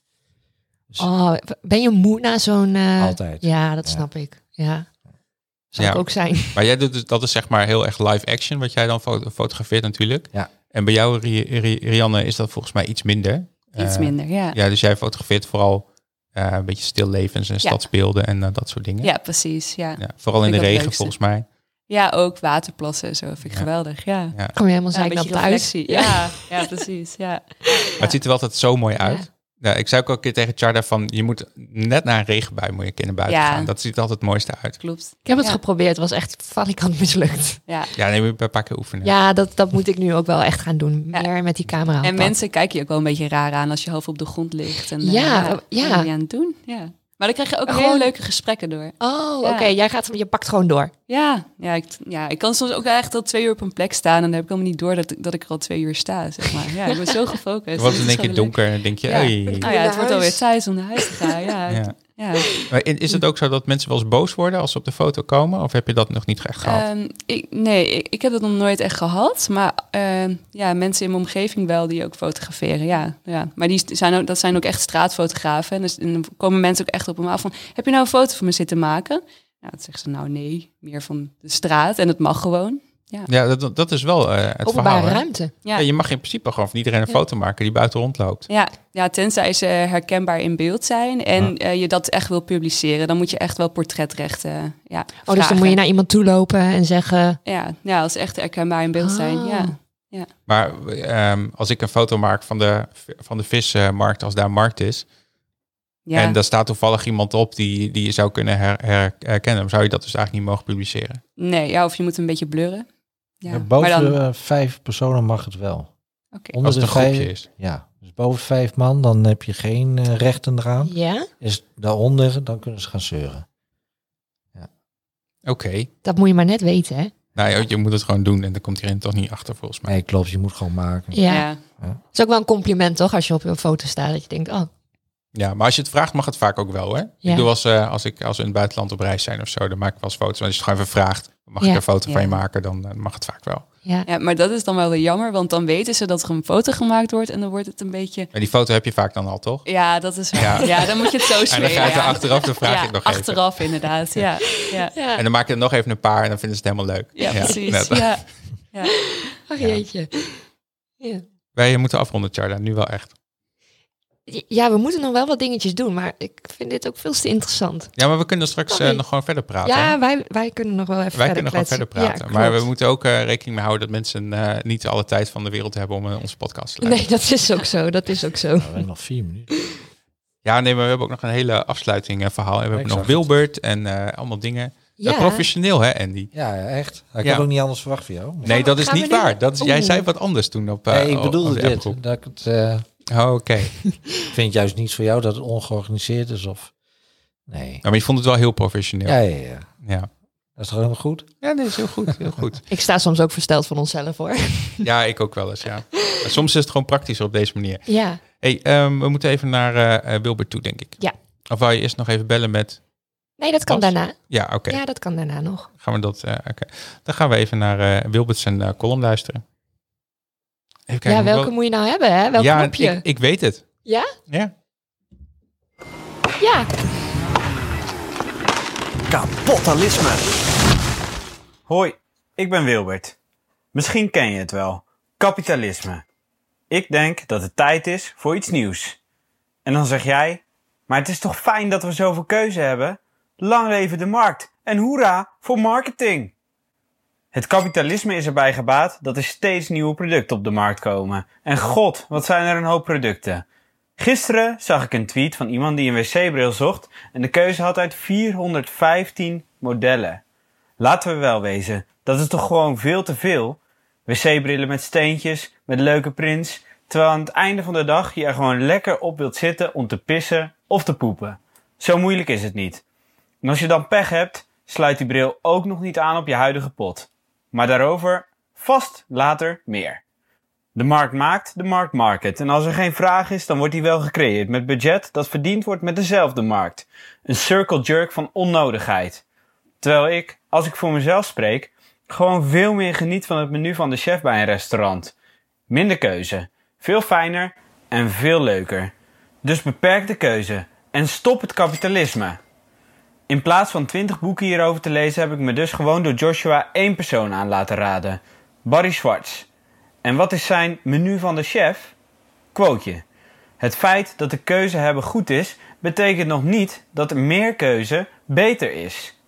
Dus- Oh, ben je moe na zo'n... eh, Altijd. Ja, dat Ja. snap ik. Ja. Zou Ja. ik ook zijn. Maar jij doet dus, dat is zeg maar heel echt live action, wat jij dan fo- fotografeert natuurlijk. Ja. En bij jou, Ri- Ri- Rianne, is dat volgens mij iets minder. Iets Eh, minder, ja. Ja, dus jij fotografeert vooral eh, een beetje stillevens en stadsbeelden en eh, dat soort dingen. Ja, precies. Ja. Ja, vooral in de Vind ik dat regen, leukste. volgens mij. ja, ook waterplassen en zo vind ik Ja. geweldig. Ja, ja, Kom je helemaal een zeiknap beetje thuis. reflectie. Ja, ja, precies. Ja. Maar het ziet er wel altijd zo mooi Ja. uit. Ja. ik zei ook al een keer tegen Charda van, je moet net naar een regenbui moet je een keer naar buiten Ja. gaan. Dat ziet er altijd het mooiste uit. Klopt. Ik heb het Ja. geprobeerd, het was echt falikant mislukt. Ja. Ja, nee, we hebben een paar keer oefenen. Ja, dat, dat moet ik nu ook wel echt gaan doen. Ja. Meer met die camera. En aanpakken. mensen kijken je ook wel een beetje raar aan als je half op de grond ligt. En, eh, Ja, wat ja. ben je aan het doen? Ja. Maar dan krijg je ook Gewoon- hele leuke gesprekken door. Oh, Ja. oké. Jij gaat, je pakt gewoon door. Ja, ja, ik, ja, ik kan soms ook echt al twee uur op een plek staan. En dan heb ik helemaal niet door dat, dat ik er al twee uur sta, zeg maar. Ja, ik ben zo gefocust. Het wordt Dat in één keer is gewoon leuk. donker en dan denk je, Ja. hey. Nou ja, het wordt alweer tijd om naar huis te gaan. Ja, Ja. ja. Maar i- is het ook zo dat mensen wel eens boos worden als ze op de foto komen? Of heb je dat nog niet echt gehad? Ehm, ik, nee, ik, ik heb dat nog nooit echt gehad. Maar ehm, ja, mensen in mijn omgeving wel die ook fotograferen. Ja, ja. Maar die zijn ook, dat zijn ook echt straatfotografen. En, dus, en dan komen mensen ook echt op me af van... Heb je nou een foto van me zitten maken? Nou, dan zeggen ze nou nee, meer van de straat. En dat mag gewoon. Ja, dat, dat is wel eh, het verhaal. Openbare hè? ruimte. Ja, je mag in principe gewoon van iedereen een foto maken die buiten rondloopt. Ja, ja, tenzij ze herkenbaar in beeld zijn en eh, je dat echt wil publiceren, dan moet je echt wel portretrechten. eh, Ja, Oh, dus dan moet je naar iemand toe lopen en zeggen... ja, ja, als ze echt herkenbaar in beeld zijn. Ah. Ja. Maar ehm, als ik een foto maak van de, van de vismarkt, als daar markt is, Ja. en daar staat toevallig iemand op die, die je zou kunnen her- her- herkennen, dan zou je dat dus eigenlijk niet mogen publiceren. Nee, ja, of je moet een beetje blurren. Ja, boven maar dan, eh, vijf personen mag het wel. Oké. Onder Als het een vijf- groepje is. Ja, dus boven vijf man, dan heb je geen eh, rechten eraan. Ja, Is het daaronder, dan kunnen ze gaan zeuren. Oké. dat moet je maar net weten, hè? Nou ja, je moet het gewoon doen en dan komt iedereen toch niet achter volgens mij. Nee, klopt, je moet gewoon maken. Ja. ja. Dat is ook wel een compliment, toch? Als je op een foto staat, dat je denkt... Oh, Ja, maar als je het vraagt mag het vaak ook wel hè. Ja. Ik doe als, eh, als, ik, als we in het buitenland op reis zijn of zo, dan maak ik wel eens foto's. Maar als je het gewoon even vraagt, mag Ja. ik een foto van je Ja. maken, dan eh, mag het vaak wel. ja. ja, maar dat is dan wel weer jammer, want dan weten ze dat er een foto gemaakt wordt en dan wordt het een beetje... Maar die foto heb je vaak dan al toch? Ja, dat is waar. Ja. Ja, dan moet je het zo En dan smeren. ga je er ja. achteraf de vraag Ja, ik nog even. achteraf inderdaad. Ja, ja. Ja, En dan maak je er nog even een paar en dan vinden ze het helemaal leuk. ja, precies. net. Ja. ach jeetje. Ja. Wij moeten afronden, Charda, nu wel echt. ja, we moeten nog wel wat dingetjes doen, maar ik vind dit ook veel te interessant. Ja, maar we kunnen straks eh, Sorry. nog gewoon verder praten. hè? Ja, wij, wij kunnen nog wel even Wij verder kunnen gewoon kletsen. verder Ja, praten. klopt. maar we moeten ook eh, rekening mee houden dat mensen eh, niet alle tijd van de wereld hebben om eh, onze podcast te Nee, luisteren. dat is ook zo. Dat is ook zo. Nou, we hebben nog vier minuten. Ja, nee, maar we hebben ook nog een hele afsluiting eh, verhaal. En we Ik hebben nog zag het. Wilbert en eh, allemaal dingen. Ja. Eh, professioneel, hè, Andy? Ja, echt. Ik Ja. had ook niet anders verwacht van jou. Nee, dat is gaan we niet nu- waar. Dat is, jij Oeh. zei wat anders toen op. eh, Nee, ik op- op bedoelde de dit. appgroep. Dat ik, het, eh, Oh, Oké. ik vind juist niet voor jou dat het ongeorganiseerd is. Of... Nee. Nou, maar je vond het wel heel professioneel. Ja, Ja, ja, ja. ja. Dat is toch helemaal goed? nee, is heel goed. Heel goed. Ik sta soms ook versteld van onszelf, hoor. ja, ik ook wel eens, ja. Maar soms is het gewoon praktischer op deze manier. Ja. hey, ehm, we moeten even naar eh, eh, Wilbert toe, denk ik. Ja. Of wou je eerst nog even bellen met... Nee, dat kan Bas? daarna. Ja, oké. Ja, dat kan daarna nog. Gaan we dat... eh, oké. Dan gaan we even naar eh, Wilbert zijn eh, column luisteren. Even ja, welke wel- moet je nou hebben, hè? Welk ja, knopje? Ik, ik weet het. Ja? Ja. Ja. Kapitalisme. Hoi, ik ben Wilbert. Misschien ken je het wel. Kapitalisme. Ik denk dat het tijd is voor iets nieuws. En dan zeg jij, maar het is toch fijn dat we zoveel keuze hebben? Lang leven de markt en hoera voor marketing. Het kapitalisme is erbij gebaat dat er steeds nieuwe producten op de markt komen. En god, wat zijn er een hoop producten. Gisteren zag ik een tweet van iemand die een wc-bril zocht en de keuze had uit 415 modellen. Laten we wel wezen, dat is toch gewoon veel te veel? Wc-brillen met steentjes, met leuke prints, terwijl aan het einde van de dag je er gewoon lekker op wilt zitten om te pissen of te poepen. Zo moeilijk is het niet. En als je dan pech hebt, sluit die bril ook nog niet aan op je huidige pot. Maar daarover vast later meer. De markt maakt, de markt market. En als er geen vraag is, dan wordt die wel gecreëerd met budget dat verdiend wordt met dezelfde markt. Een circle jerk van onnodigheid. Terwijl ik, als ik voor mezelf spreek, gewoon veel meer geniet van het menu van de chef bij een restaurant. Minder keuze, veel fijner en veel leuker. Dus beperk de keuze en stop het kapitalisme. In plaats van 20 boeken hierover te lezen, heb ik me dus gewoon door Joshua één persoon aan laten raden: Barry Schwartz. En wat is zijn menu van de chef? Quoteje. Het feit dat de keuze hebben goed is, betekent nog niet dat meer keuze beter is.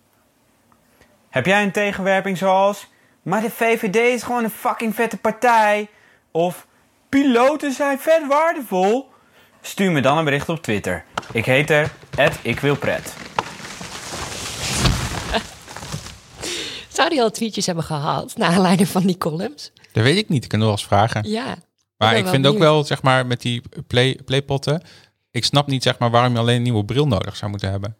Heb jij een tegenwerping zoals... Maar de VVD is gewoon een fucking vette partij. Of piloten zijn vet waardevol. Stuur me dan een bericht op Twitter. Ik heet er, ik wil pret. Zou die al tweetjes hebben gehaald, naar aanleiding van die columns? Dat weet ik niet. Ik kan nog wel eens vragen. Ja. Maar ben ik wel vind ook benieuwd. wel, zeg maar, met die play, playpotten... Ik snap niet, zeg maar, waarom je alleen een nieuwe bril nodig zou moeten hebben.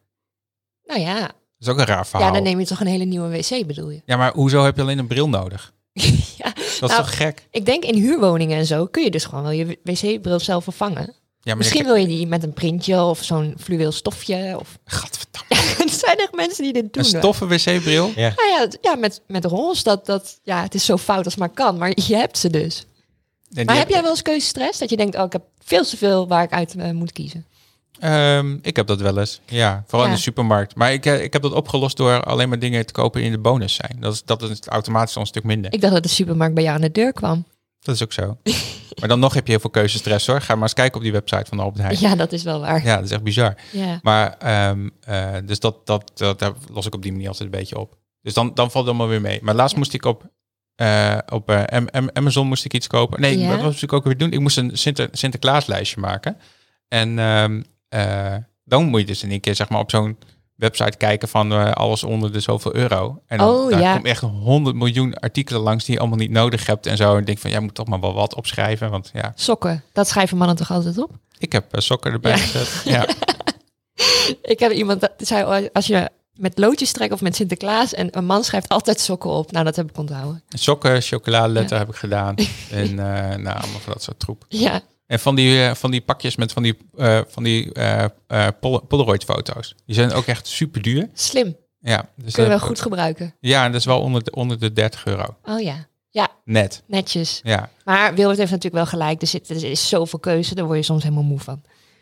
Nou ja. Dat is ook een raar verhaal. Ja, dan neem je toch een hele nieuwe wc, bedoel je? Ja, maar hoezo heb je alleen een bril nodig? ja. Dat is Nou, toch gek? Ik denk in huurwoningen en zo kun je dus gewoon wel je wc-bril zelf vervangen. Ja, maar Misschien je- wil je die met een printje of zo'n fluweel stofje. Of... Gadverdamme. er zijn echt mensen die dit doen. Een hoor. stoffen wc-bril? Nou ja, het- ja met, met roze, dat, dat, ja, het is zo fout als maar kan, maar je hebt ze dus. En die Maar heb jij wel eens keuzestress? Dat je denkt, oh, ik heb veel te veel waar ik uit eh, moet kiezen. Ehm, ik heb dat wel eens. Ja, vooral in Ja. de supermarkt. Maar ik, eh, ik heb dat opgelost door alleen maar dingen te kopen die in de bonus zijn. Dat is, dat is automatisch al een stuk minder. Ik dacht dat de supermarkt bij jou aan de deur kwam. Dat is ook zo. maar dan nog heb je heel veel keuzestress hoor. Ga maar eens kijken op die website van Albert Heijn. Ja, Ja, dat is wel waar. dat is echt bizar. Ja. Maar ehm, eh, dus dat, dat, dat, daar los ik op die manier altijd een beetje op. Dus dan, dan valt het allemaal weer mee. Maar laatst moest ik op, eh, op eh, Am- Am- Amazon moest ik iets kopen. Nee, Ja. dat was natuurlijk ook weer doen. Ik moest een Sinter, Sinterklaaslijstje maken. En ehm, eh, dan moet je dus in één keer zeg maar, op zo'n website kijken van eh, alles onder de zoveel euro. En dan, Oh, daar ja. komt echt 100 miljoen artikelen langs die je allemaal niet nodig hebt en zo. En ik denk van, jij moet toch maar wel wat opschrijven. Want ja, Sokken, dat schrijven mannen toch altijd op? ik heb eh, sokken erbij Ja. gezet. Ja. Ik heb iemand dat zei, al, als je met loodjes trekt of met Sinterklaas en een man schrijft altijd sokken op. Nou, dat heb ik onthouden. Sokken, chocoladeletter heb ik gedaan. En eh, nou, allemaal van dat soort troep. Ja, En van die, eh, van die pakjes met van die, eh, van die eh, eh, pol- Polaroid-foto's. Die zijn ook echt super duur. slim. Ja, dus dat Kunnen heb we ik goed ook- gebruiken. ja, en dat is wel onder de, onder de 30 euro. Oh ja. Ja, Net. netjes. Ja, Maar Wilbert heeft natuurlijk wel gelijk. Er, zit, er is zoveel keuze, daar word je soms helemaal moe van.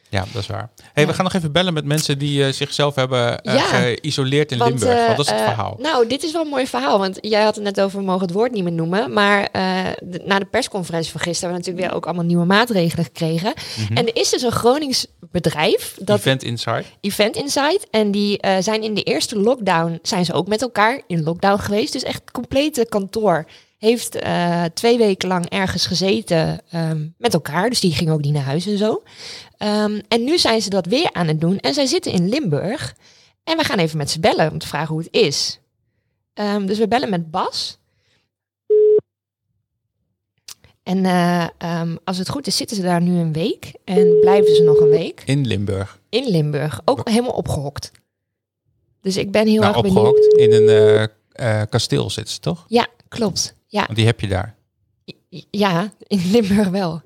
ja dat is waar. hey, we gaan nog even bellen met mensen die eh, zichzelf hebben eh, Ja. geïsoleerd in Limburg. eh, Want dat is het eh, verhaal. nou, dit is wel een mooi verhaal. Want jij had het net over, we mogen het woord niet meer noemen. Maar eh, de- na de persconferentie van gisteren hebben we natuurlijk weer ook allemaal nieuwe maatregelen gekregen. Mhm. En er is dus een Gronings bedrijf, dat Event Inside. Event Insight. En die eh, zijn in de eerste lockdown, zijn ze ook met elkaar in lockdown geweest. Dus echt het complete kantoor heeft eh, twee weken lang ergens gezeten ehm, met elkaar. Dus die gingen ook niet naar huis en zo. Ehm, en nu zijn ze dat weer aan het doen. En zij zitten in Limburg. En we gaan even met ze bellen om te vragen hoe het is. Ehm, dus we bellen met Bas. En eh, ehm, als het goed is, zitten ze daar nu een week. En blijven ze nog een week. In Limburg. In Limburg. Ook helemaal opgehokt. Dus ik ben heel Nou, erg benieuwd. opgehokt. In een eh, eh, kasteel zitten ze, toch? Ja, klopt. Ja, Want die heb je daar. i- ja, in Limburg wel.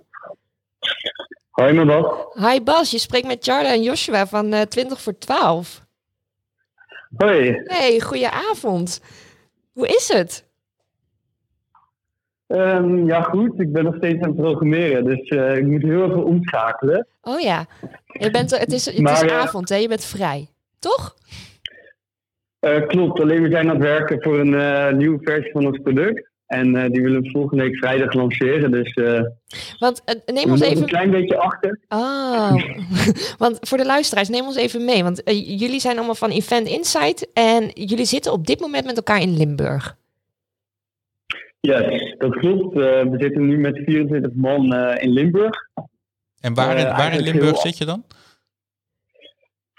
Hoi, mijn Bas. Hi Bas, je spreekt met Charla en Joshua van eh 20 voor 12. Hoi. Hey, goedenavond. Hoe is het? Ehm, ja, goed. Ik ben nog steeds aan het programmeren, dus eh, ik moet heel even omschakelen. Oh ja, je bent, het is, het Nou Maar, is eh, avond hè, je bent vrij. Toch? Eh, klopt, alleen we zijn aan het werken voor een eh, nieuwe versie van ons product. En eh, die willen we volgende week vrijdag lanceren, dus eh, Want eh, we neem ons Mm. moeten een even... klein beetje achter. Oh, want voor de luisteraars, neem ons even mee. Want eh, jullie zijn allemaal van Event Insight en jullie zitten op dit moment met elkaar in Limburg. Yes, dat klopt. Eh, we zitten nu met 24 man eh, in Limburg. En waar, Eh, in- waar in eigenlijk Limburg heel- zit je dan?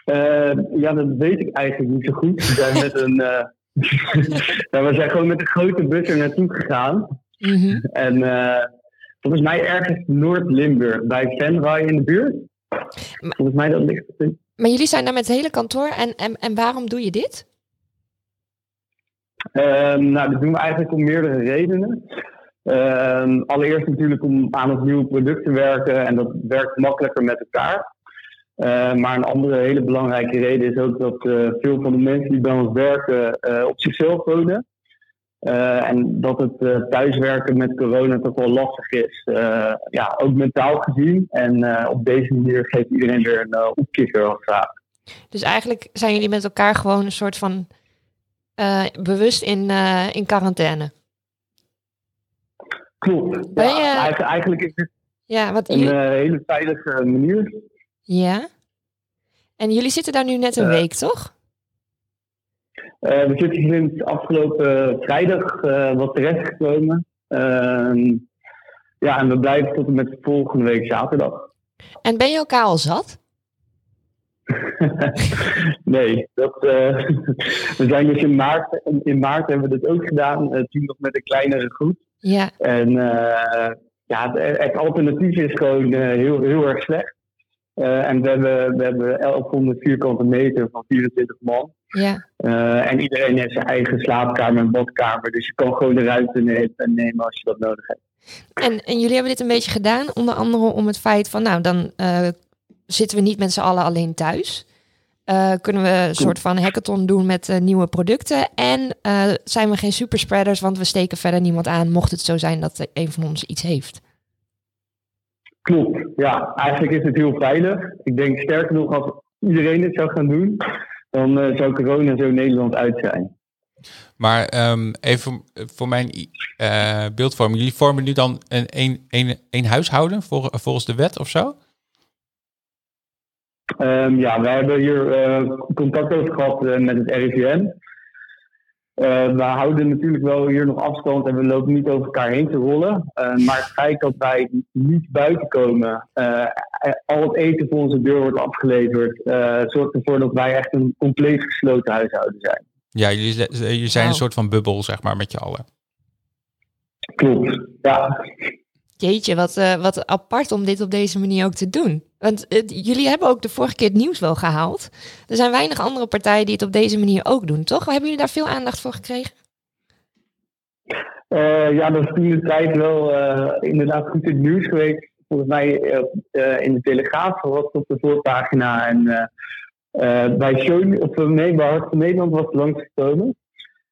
Eh, ja, dat weet ik eigenlijk niet zo goed. We zijn, met een, eh, nou, we zijn gewoon met een grote bus er naartoe gegaan. Mhm. En eh, volgens mij ergens Noord-Limburg, bij Venray in de buurt. Volgens mij dat ligt het in- Maar jullie zijn daar met het hele kantoor en, en, en waarom doe je dit? Ehm, nou, dat doen we eigenlijk om meerdere redenen. Ehm, allereerst natuurlijk om aan het nieuwe product te werken en dat werkt makkelijker met elkaar. Eh, maar een andere hele belangrijke reden is ook dat eh, veel van de mensen die bij ons werken eh, op zichzelf wonen. Eh, en dat het eh, thuiswerken met corona toch wel lastig is. Eh, ja, ook mentaal gezien. En eh, op deze manier geeft iedereen weer een eh, opkikker of zo. Dus eigenlijk zijn jullie met elkaar gewoon een soort van eh, bewust in, eh, in quarantaine. Klopt. Ben je- Ja, eigenlijk- eigenlijk is het Ja, want een jullie- eh, hele veilige manier. ja. En jullie zitten daar nu net een Eh. week, toch? Eh, we zitten sinds afgelopen vrijdag eh, wat terechtgekomen. Ehm, ja, en we blijven tot en met volgende week zaterdag. En ben je elkaar al zat? nee, dat, eh, we zijn dus in maart, in maart hebben we dit ook gedaan. eh, toen nog met een kleinere groep. Ja, En eh, ja, het, het alternatief is gewoon eh, heel, heel erg slecht. Eh, en we hebben, we hebben 1100 vierkante meter van 24 man. ja. Eh, en iedereen heeft zijn eigen slaapkamer en badkamer. Dus je kan gewoon de ruimte ne- nemen als je dat nodig hebt. En, en jullie hebben dit een beetje gedaan, onder andere om het feit van, nou, dan eh, zitten we niet met z'n allen alleen thuis. Eh, kunnen we een soort van hackathon doen met eh, nieuwe producten. En eh, zijn we geen superspreaders, want we steken verder niemand aan, mocht het zo zijn dat eh, een van ons iets heeft. Klopt, ja. Eigenlijk is het heel veilig. Ik denk sterker nog, als iedereen het zou gaan doen, dan eh, zou corona zo Nederland uit zijn. Maar ehm, even voor mijn i- eh beeldvorming. Jullie vormen nu dan een, een, een, een huishouden vol- volgens de wet of zo? Ehm, ja, wij hebben hier eh, contact over gehad eh, met het RIVM. Eh, we houden natuurlijk wel hier nog afstand en we lopen niet over elkaar heen te rollen. Eh, maar het feit dat wij niet buiten komen, eh, eh, al het eten voor onze deur wordt afgeleverd, eh, zorgt ervoor dat wij echt een compleet gesloten huishouden zijn. Ja, jullie, z- z- jullie zijn een Wauw. soort van bubbel, zeg maar, met je allen. Klopt, ja. Jeetje, wat, eh, wat apart om dit op deze manier ook te doen. Want eh, jullie hebben ook de vorige keer het nieuws wel gehaald. Er zijn weinig andere partijen die het op deze manier ook doen, toch? Hebben jullie daar veel aandacht voor gekregen? Eh, ja, dat is toen de tijd wel eh, inderdaad goed in het nieuws geweest. Volgens mij eh, eh, in de Telegraaf was het op de voorpagina. En eh, eh, bij Show, of eh, nee, bij Hart van Nederland was het langsgekomen.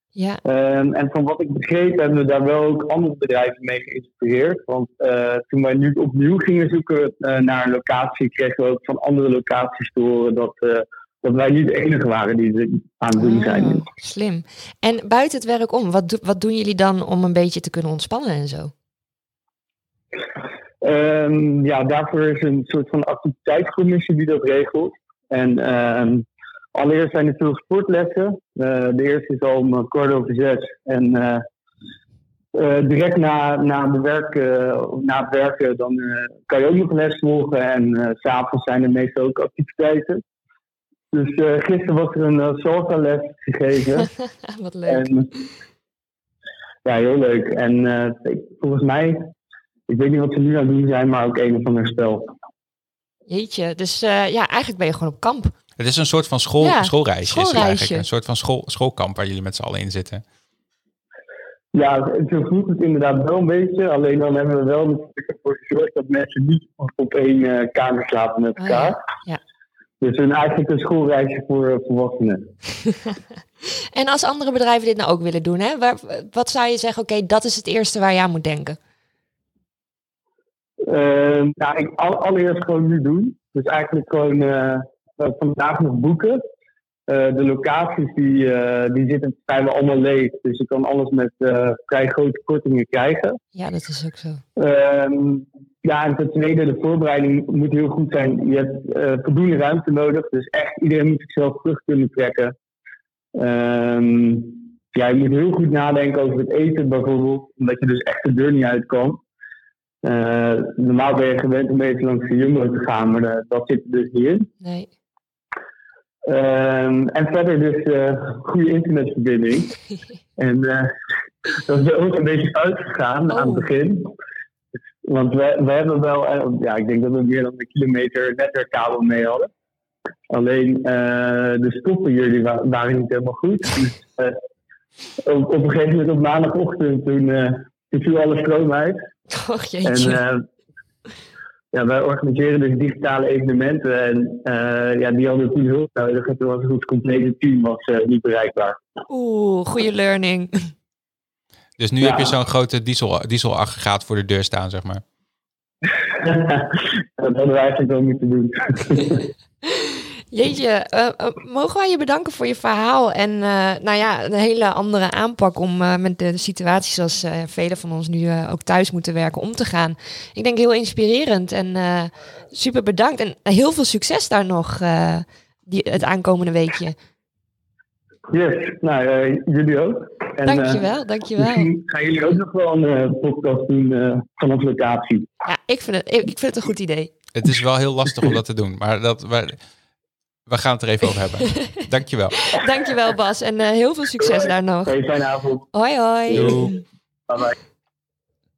Ja, Ehm, en van wat ik begreep hebben we daar wel ook andere bedrijven mee geïnspireerd. Want eh, toen wij nu opnieuw gingen zoeken eh, naar een locatie, kregen we ook van andere locaties te horen dat, eh, dat wij niet de enige waren die het aan het doen zijn. Ah, slim. En buiten het werk om, wat, do- wat doen jullie dan om een beetje te kunnen ontspannen en zo? Ehm, ja, daarvoor is een soort van activiteitscommissie die dat regelt. En ehm, allereerst zijn er veel sportlessen. Eh, de eerste is al om eh, kwart over zes. En eh, eh, direct na, na, de werk, eh, na het werken dan, eh, kan je ook nog les volgen. En eh, s s'avonds zijn er meestal ook activiteiten. Dus eh, gisteren was er een eh, salsa-les gegeven. Ah, wat leuk. En, ja, heel leuk. En eh, ik- volgens mij, ik weet niet wat ze nu aan het doen zijn, maar ook een of ander spel. Jeetje, dus eh, ja, eigenlijk ben je gewoon op kamp. Het is een soort van school, Ja, schoolreisje. is het schoolreisje. eigenlijk. Een soort van school, schoolkamp waar jullie met z'n allen in zitten. Ja, zo voelt het inderdaad wel een beetje. Alleen dan hebben we wel natuurlijk ervoor gezorgd dat mensen niet op één eh, kamer slapen met Oh ja, elkaar. ja. Dus een, eigenlijk een schoolreisje voor eh, volwassenen. En als andere bedrijven dit nou ook willen doen, hè, waar- wat zou je zeggen, oké, dat is het eerste waar je aan moet denken? Ehm, nou, ik, al- allereerst gewoon nu doen. Dus eigenlijk gewoon eh, eh, vandaag nog boeken. Eh, de locaties die, eh, die zitten vrijwel allemaal leeg. Dus je kan alles met eh, vrij grote kortingen krijgen. Ja, dat is ook zo. Ehm, ja, en ten tweede, de voorbereiding moet heel goed zijn. Je hebt eh, voldoende ruimte nodig. Dus echt, iedereen moet zichzelf terug kunnen trekken. Ehm, ja, je moet heel goed nadenken over het eten bijvoorbeeld. Omdat je dus echt de deur niet uit kan. Eh, normaal ben je gewend om even langs de Jumbo te gaan, maar eh, dat zit er dus niet in. Nee. Ehm, en verder dus eh, goede internetverbinding. en eh, dat is bij ons een beetje uitgegaan aan het Oh. begin. Want we, we hebben wel, eh, ja, ik denk dat we meer dan een kilometer netwerkkabel mee hadden. Alleen eh, de stoppen hier die wa- waren niet helemaal goed. Dus, eh, op, op een gegeven moment op maandagochtend toen, eh, toen viel alle stroom uit. Och En jeetje. eh, ja, wij organiseren dus digitale evenementen. En eh, ja, die hadden toen hulp nodig. En toen was ons complete team was, eh, niet bereikbaar. Oeh, goede learning. Dus nu Ja. heb je zo'n grote diesel, dieselaggregaat voor de deur staan, zeg maar. dat hadden we eigenlijk wel moeten doen. Jeetje, eh, eh, mogen wij je bedanken voor je verhaal en eh, nou ja, een hele andere aanpak om eh, met de, de situatie zoals eh, velen van ons nu eh, ook thuis moeten werken om te gaan. Ik denk heel inspirerend en eh, super bedankt en heel veel succes daar nog eh, die, het aankomende weekje. yes, nou, eh, jullie ook. En, eh, Dankjewel, dankjewel. Misschien gaan jullie ook nog wel een eh, podcast doen eh, vanaf locatie. Ja, ik vind het, ik ik vind het een goed idee. Het is wel heel lastig om dat te doen. Maar dat, we, we gaan het er even over hebben. Dankjewel. Dankjewel Bas en eh, heel veel succes Doei. daar nog. Hey, fijne avond. Hoi hoi. Doei. Bye bye.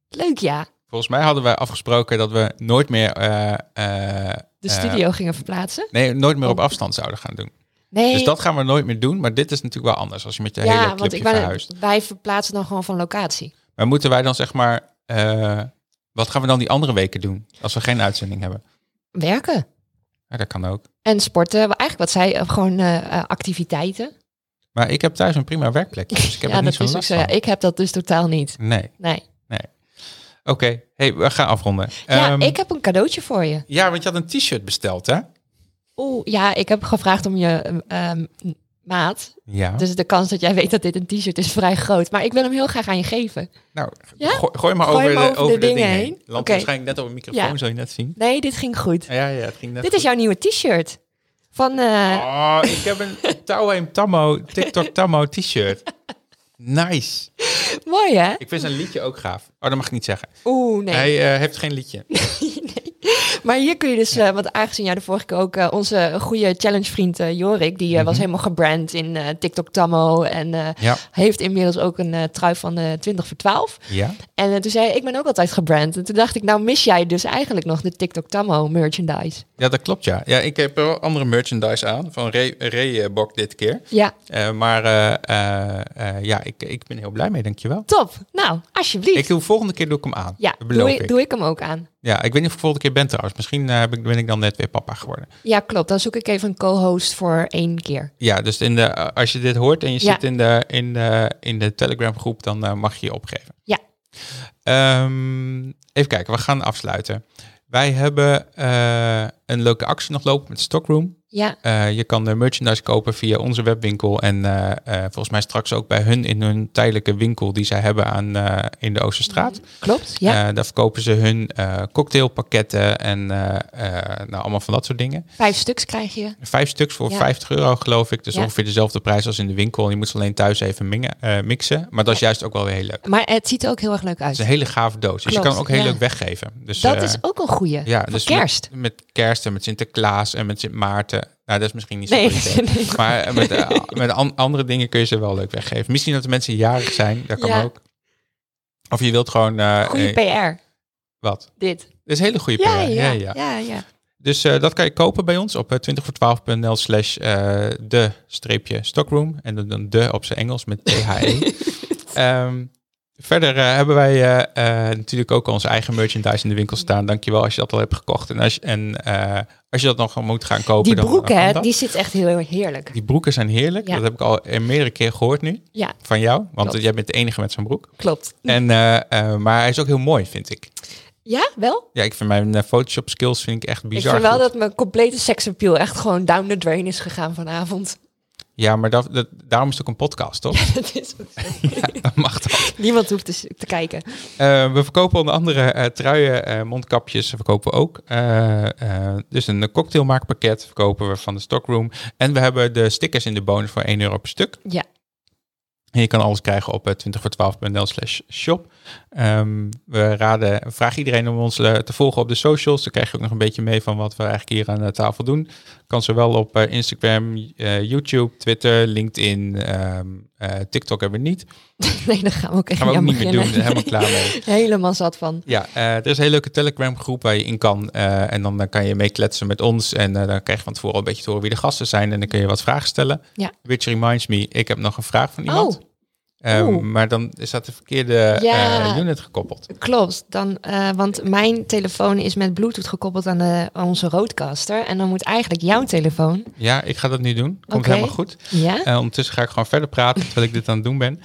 Leuk ja, Volgens mij hadden wij afgesproken dat we nooit meer, eh, eh, de Eh, studio gingen verplaatsen. nee, nooit meer op afstand zouden gaan doen. Nee. Dus dat gaan we nooit meer doen. Maar dit is natuurlijk wel anders als je met je hele Eh, ja, want clubje ik wou- verhuist. wij verplaatsen dan gewoon van locatie. Maar moeten wij dan zeg maar... eh, wat gaan we dan die andere weken doen? Als we geen uitzending hebben. Werken. Ja, dat kan ook. En sporten, wel eigenlijk wat zij eh, gewoon eh, eh, activiteiten. Maar ik heb thuis een prima werkplekje. Oh, Dus ik heb ja, er niet dat zo is ook last zo. Ja, van. ik heb dat dus totaal niet. Nee. Nee. Nee. Oké, hey, we gaan afronden. Ja, Ehm, ik heb een cadeautje voor je. ja, want je had een t-shirt besteld, hè? Oeh, ja, ik heb gevraagd om je ehm, maat. Ja. Dus de kans dat jij weet dat dit een t-shirt is vrij groot. Maar ik wil hem heel graag aan je geven. nou, Ja? gooi, gooi maar Gooi over, hem de, over de dingen heen. Landt Oké. waarschijnlijk net op een microfoon, Ja. zou je net zien. Nee, dit ging goed. Ja, ja, het ging net dit is jouw nieuwe t-shirt. Van, eh, Oh, ik heb een Touwheim Tammo, TikTok Tammo t-shirt. Nice. mooi hè? Ik vind zijn liedje ook gaaf. Oh, dat mag ik niet zeggen. Oeh, nee. Hij eh, heeft geen liedje. Maar hier kun je dus, eh, want aangezien jij de vorige keer ook eh, onze goede challengevriend eh, Jorik, die eh, was helemaal gebrand in eh, TikTok Tammo en eh, Mhm. Ja. heeft inmiddels ook een eh, trui van eh 20 voor 12. Ja? En eh, toen zei hij, ik ben ook altijd gebrand. En toen dacht ik, nou mis jij dus eigenlijk nog de TikTok Tammo merchandise. Ja, dat klopt, ja. Ja, ik heb wel andere merchandise aan. Van Ray- Reebok dit keer. Ja, Eh, maar eh, eh, eh, ja, ik, ik ben heel blij mee, dankjewel. top. Nou, alsjeblieft. Ik doe volgende keer doe ik hem aan. ja, dat beloof doe, ik. ik- doe ik hem ook aan. Ja, ik weet niet of ik volgende keer ben trouwens. Misschien eh, heb ik, ben ik dan net weer papa geworden. Ja, klopt. Dan zoek ik even een co-host voor één keer. Ja, dus in de, als je dit hoort en je Ja. zit in de, in de, in de Telegram groep, dan eh, mag je je opgeven. Ja. Ehm, even kijken, we gaan afsluiten. Wij hebben eh, een leuke actie nog lopen met Stockroom. Ja, Eh, je kan de merchandise kopen via onze webwinkel. En eh, eh, volgens mij straks ook bij hun in hun tijdelijke winkel die zij hebben aan, eh, in de Oosterstraat. klopt. Ja. Eh, daar verkopen ze hun eh, cocktailpakketten en eh, eh, nou, allemaal van dat soort dingen. Vijf stuks krijg je. Vijf stuks voor Ja. 50 euro, geloof ik. Dus Ja. ongeveer dezelfde prijs als in de winkel. Je moet ze alleen thuis even mingen- eh, mixen. Maar dat is juist ook wel weer heel leuk. Het Maar het ziet er ook heel erg leuk uit. is een hele gave doos. Dus je Klopt, kan hem ook heel ja. leuk weggeven. Dus, Dat eh, is ook een goeie. ja, Voor dus kerst. Met, met kerst en met Sinterklaas en met Sint Maarten. Nou, dat is misschien niet zo Nee, goed idee. nee. Maar eh, met, eh, met an- andere dingen kun je ze wel leuk weggeven. Misschien dat de mensen jarig zijn. Dat kan Ja. ook. Of je wilt gewoon... eh, Goede eh, PR, wat? dit. Dat is een hele goede PR. Ja, ja, ja. ja. ja, Dus eh, dat kan je kopen bij ons op eh, 20voor12.nl slash eh, de streepje stockroom. En dan- dan de op zijn Engels met THE. Ehm verder eh, hebben wij eh, eh, natuurlijk ook onze eigen merchandise in de winkel staan. Dankjewel als je dat al hebt gekocht. En als je, en, eh, als je dat nog moet gaan kopen... Die dan- eh, broeken, dan hè, kan dat. die zit echt heel erg heerlijk. Die broeken zijn heerlijk. Ja. Dat heb ik al eh, meerdere keer gehoord nu Ja, van jou. Want Klopt. jij bent de enige met zo'n broek. klopt. En, eh, eh, maar hij is ook heel mooi, vind ik. Ja, wel? Ja, ik vind mijn eh, Photoshop skills vind ik echt bizar ik vind wel goed. dat mijn complete seksappeal echt gewoon down the drain is gegaan vanavond. Ja, maar dat, dat- daarom is het ook een podcast, toch? Dat is ook zo. Dat mag dat. Niemand hoeft te, s- te kijken. Eh, we verkopen onder andere eh, truien, eh, mondkapjes verkopen we ook. Eh, eh, dus een cocktailmaakpakket verkopen we van de stockroom. En we hebben de stickers in de bonus voor 1 euro per stuk. Ja. En je kan alles krijgen op eh, 20voor12.nl slash shop. Ehm, we raden, we vragen iedereen om ons eh, te volgen op de socials. Dan krijg je ook nog een beetje mee van wat we eigenlijk hier aan de tafel doen. Kan zowel op eh, Instagram, eh, YouTube, Twitter, LinkedIn, ehm, eh, TikTok hebben we niet. Nee, daar gaan we ook even Gaan we ook aan niet meer doen, daar zijn beginnen. we helemaal klaar mee. Helemaal zat van. Ja, eh, er is een hele leuke Telegram groep waar je in kan. eh, en dan, eh, kan je meekletsen met ons. En eh, dan krijg je van tevoren al een beetje te horen wie de gasten zijn. En dan kun je wat vragen stellen. Ja. Which reminds me, ik heb nog een vraag van iemand. Oh. Ehm, oeh. maar dan is dat de verkeerde Ja. eh, unit gekoppeld. Klopt, dan, eh, want mijn telefoon is met bluetooth gekoppeld aan, de, aan onze roadcaster. En dan moet eigenlijk jouw telefoon... Ja, ik ga dat nu doen. Komt Oké. helemaal goed. Ja? Eh, ondertussen ga ik gewoon verder praten terwijl ik dit aan het doen ben.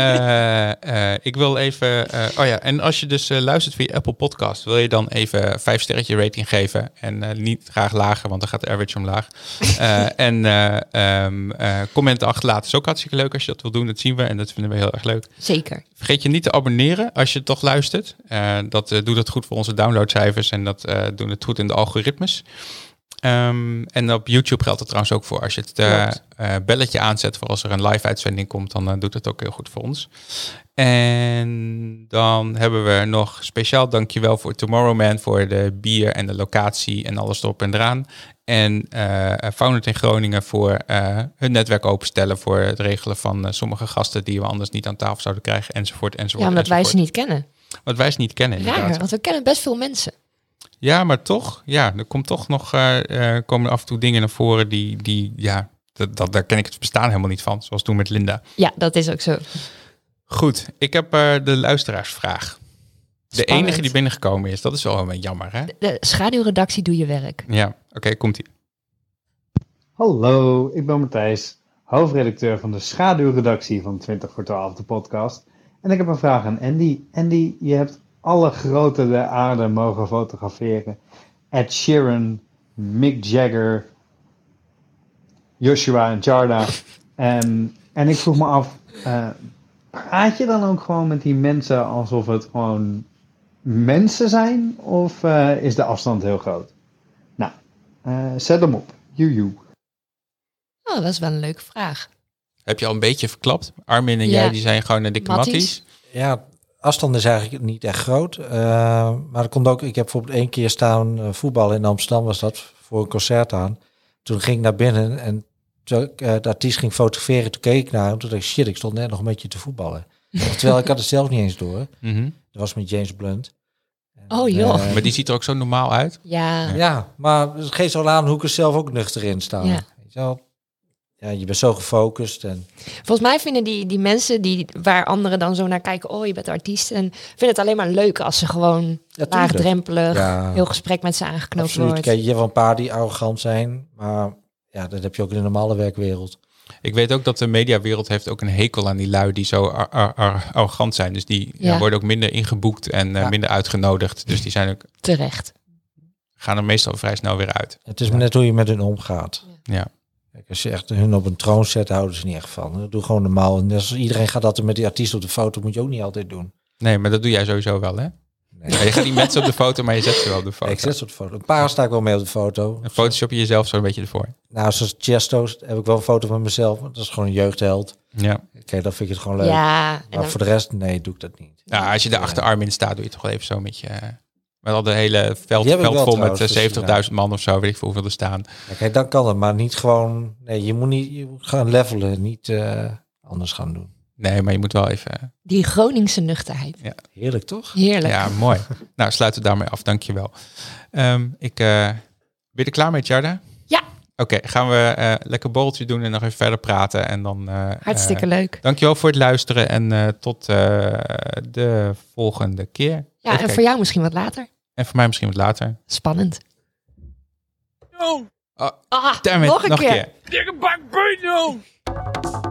Eh, eh, ik wil even. eh, oh ja, en als je dus eh, luistert via Apple Podcast, wil je dan even vijf sterretje rating geven. En eh, niet graag lager, want dan gaat de average omlaag. Eh, en eh, ehm, eh, commenten achterlaten is ook hartstikke leuk als je dat wil doen. Dat zien we en dat vinden we heel erg leuk. Zeker. Vergeet je niet te abonneren als je toch luistert. Eh, dat eh, doet het goed voor onze downloadcijfers en dat eh doen het goed in de algoritmes. Ehm, en op YouTube geldt dat trouwens ook voor. Als je het eh, Klopt. eh, belletje aanzet voor als er een live uitzending komt, dan eh, doet het ook heel goed voor ons. En dan hebben we nog speciaal dankjewel voor Tomorrow Man voor de bier en de locatie en alles erop en eraan. En eh Founded in Groningen voor eh, hun netwerk openstellen voor het regelen van eh, sommige gasten die we anders niet aan tafel zouden krijgen, enzovoort, enzovoort. Ja, omdat wij ze enzovoort. niet kennen. Omdat wij ze niet kennen, inderdaad. Raar, want we kennen best veel mensen. Ja, maar toch, ja, er komt toch nog, eh, eh, komen af en toe dingen naar voren die, die ja, dat, dat, daar ken ik het bestaan helemaal niet van, zoals toen met Linda. Ja, dat is ook zo. Goed, ik heb eh, de luisteraarsvraag. De Spannend. enige die binnengekomen is, dat is wel een beetje jammer, hè? De schaduwredactie doe je werk. Ja, oké, komt-ie. Hallo, ik ben Matthijs, hoofdredacteur van de schaduwredactie van 20 voor 12, de podcast. En ik heb een vraag aan Andy. Andy, je hebt alle groten der aarde mogen fotograferen. Ed Sheeran, Mick Jagger, Joshua Jarda. Ehm, en ik vroeg me af, eh, praat je dan ook gewoon met die mensen alsof het gewoon mensen zijn? Of eh, is de afstand heel groot? Nou, eh, zet hem op. Joejoe. Oh, dat is wel een leuke vraag. Heb je al een beetje verklapt? Armin en Ja. jij die zijn gewoon een dikke Matties. matties. Ja, afstand is eigenlijk niet echt groot. Eh, maar dat komt ook, ik heb bijvoorbeeld één keer staan eh, voetballen in Amsterdam, was dat, voor een concert aan. Toen ging ik naar binnen en toen ik, eh, de artiest ging fotograferen, toen keek ik naar hem. Toen dacht ik, shit, ik stond net nog een beetje te voetballen. Terwijl ik had het zelf niet eens door. Mhm. Dat was met James Blunt. Oh joh. Eh, Maar die ziet er ook zo normaal uit. Ja, Ja, maar het geeft al aan hoe ik er zelf ook nuchter in sta. Ja. Weet je, wel? ja, je bent zo gefocust en volgens mij vinden die, die mensen die, waar anderen dan zo naar kijken, oh je bent artiest, en vinden het alleen maar leuk als ze gewoon Ja, tuurlijk. laagdrempelig, Ja. heel gesprek met ze aangeknoopt absoluut. wordt. Kijk, je hebt wel een paar die arrogant zijn, maar ja, dat heb je ook in de normale werkwereld. Ik weet ook dat de mediawereld heeft ook een hekel aan die lui die zo ar- ar- ar- arrogant zijn. Dus die Ja. ja, worden ook minder ingeboekt en eh, Ja. minder uitgenodigd. Dus die zijn ook, Terecht. gaan er meestal vrij snel weer uit. Het is maar net hoe je met hun omgaat. Ja. Kijk, als je echt hun op een troon zet, houden ze niet echt van. Doe gewoon normaal. En als iedereen gaat altijd met die artiest op de foto, moet je ook niet altijd doen. Nee, maar dat doe jij sowieso wel, hè? Nee. Ja, je gaat niet mensen op de foto, maar je zet ze wel op de Ik foto. zet ze op de foto. Een paar sta ik wel mee op de foto. En Photoshop je jezelf zo'n beetje ervoor. Nou, zoals Chesto's heb ik wel een foto van mezelf. want Dat is gewoon een jeugdheld. Ja. Kijk, dan vind ik het gewoon leuk. Ja, en Maar dan- voor de rest, nee, doe ik dat niet. Nou, als je daar achter Armin staat, doe je toch wel even zo met je... eh, Met al de hele veld, Die heb ik veld wel vol trouwens, met dus, eh, 70.000 man of zo, weet ik veel hoeveel er staan. Ja, Kijk, dan kan het, maar niet gewoon. Nee, je moet niet je moet gaan levelen, niet eh, anders gaan doen. Nee, maar je moet wel even... eh, die Groningse nuchterheid. Heerlijk toch? Heerlijk. Ja, mooi. nou, sluiten we daarmee af. Dankjewel. Ehm ik, eh ben je er klaar mee, Jarda? Ja. Oké, gaan we eh, lekker borreltje doen en nog even verder praten. En dan, eh, Hartstikke eh, leuk. dankjewel voor het luisteren en eh, tot eh, de volgende keer. Even Ja, en kijken. voor jou misschien wat later. en voor mij misschien wat later. Spannend. Oh, Ah, damn it, nog een keer. keer. Dikke bak beun, joh!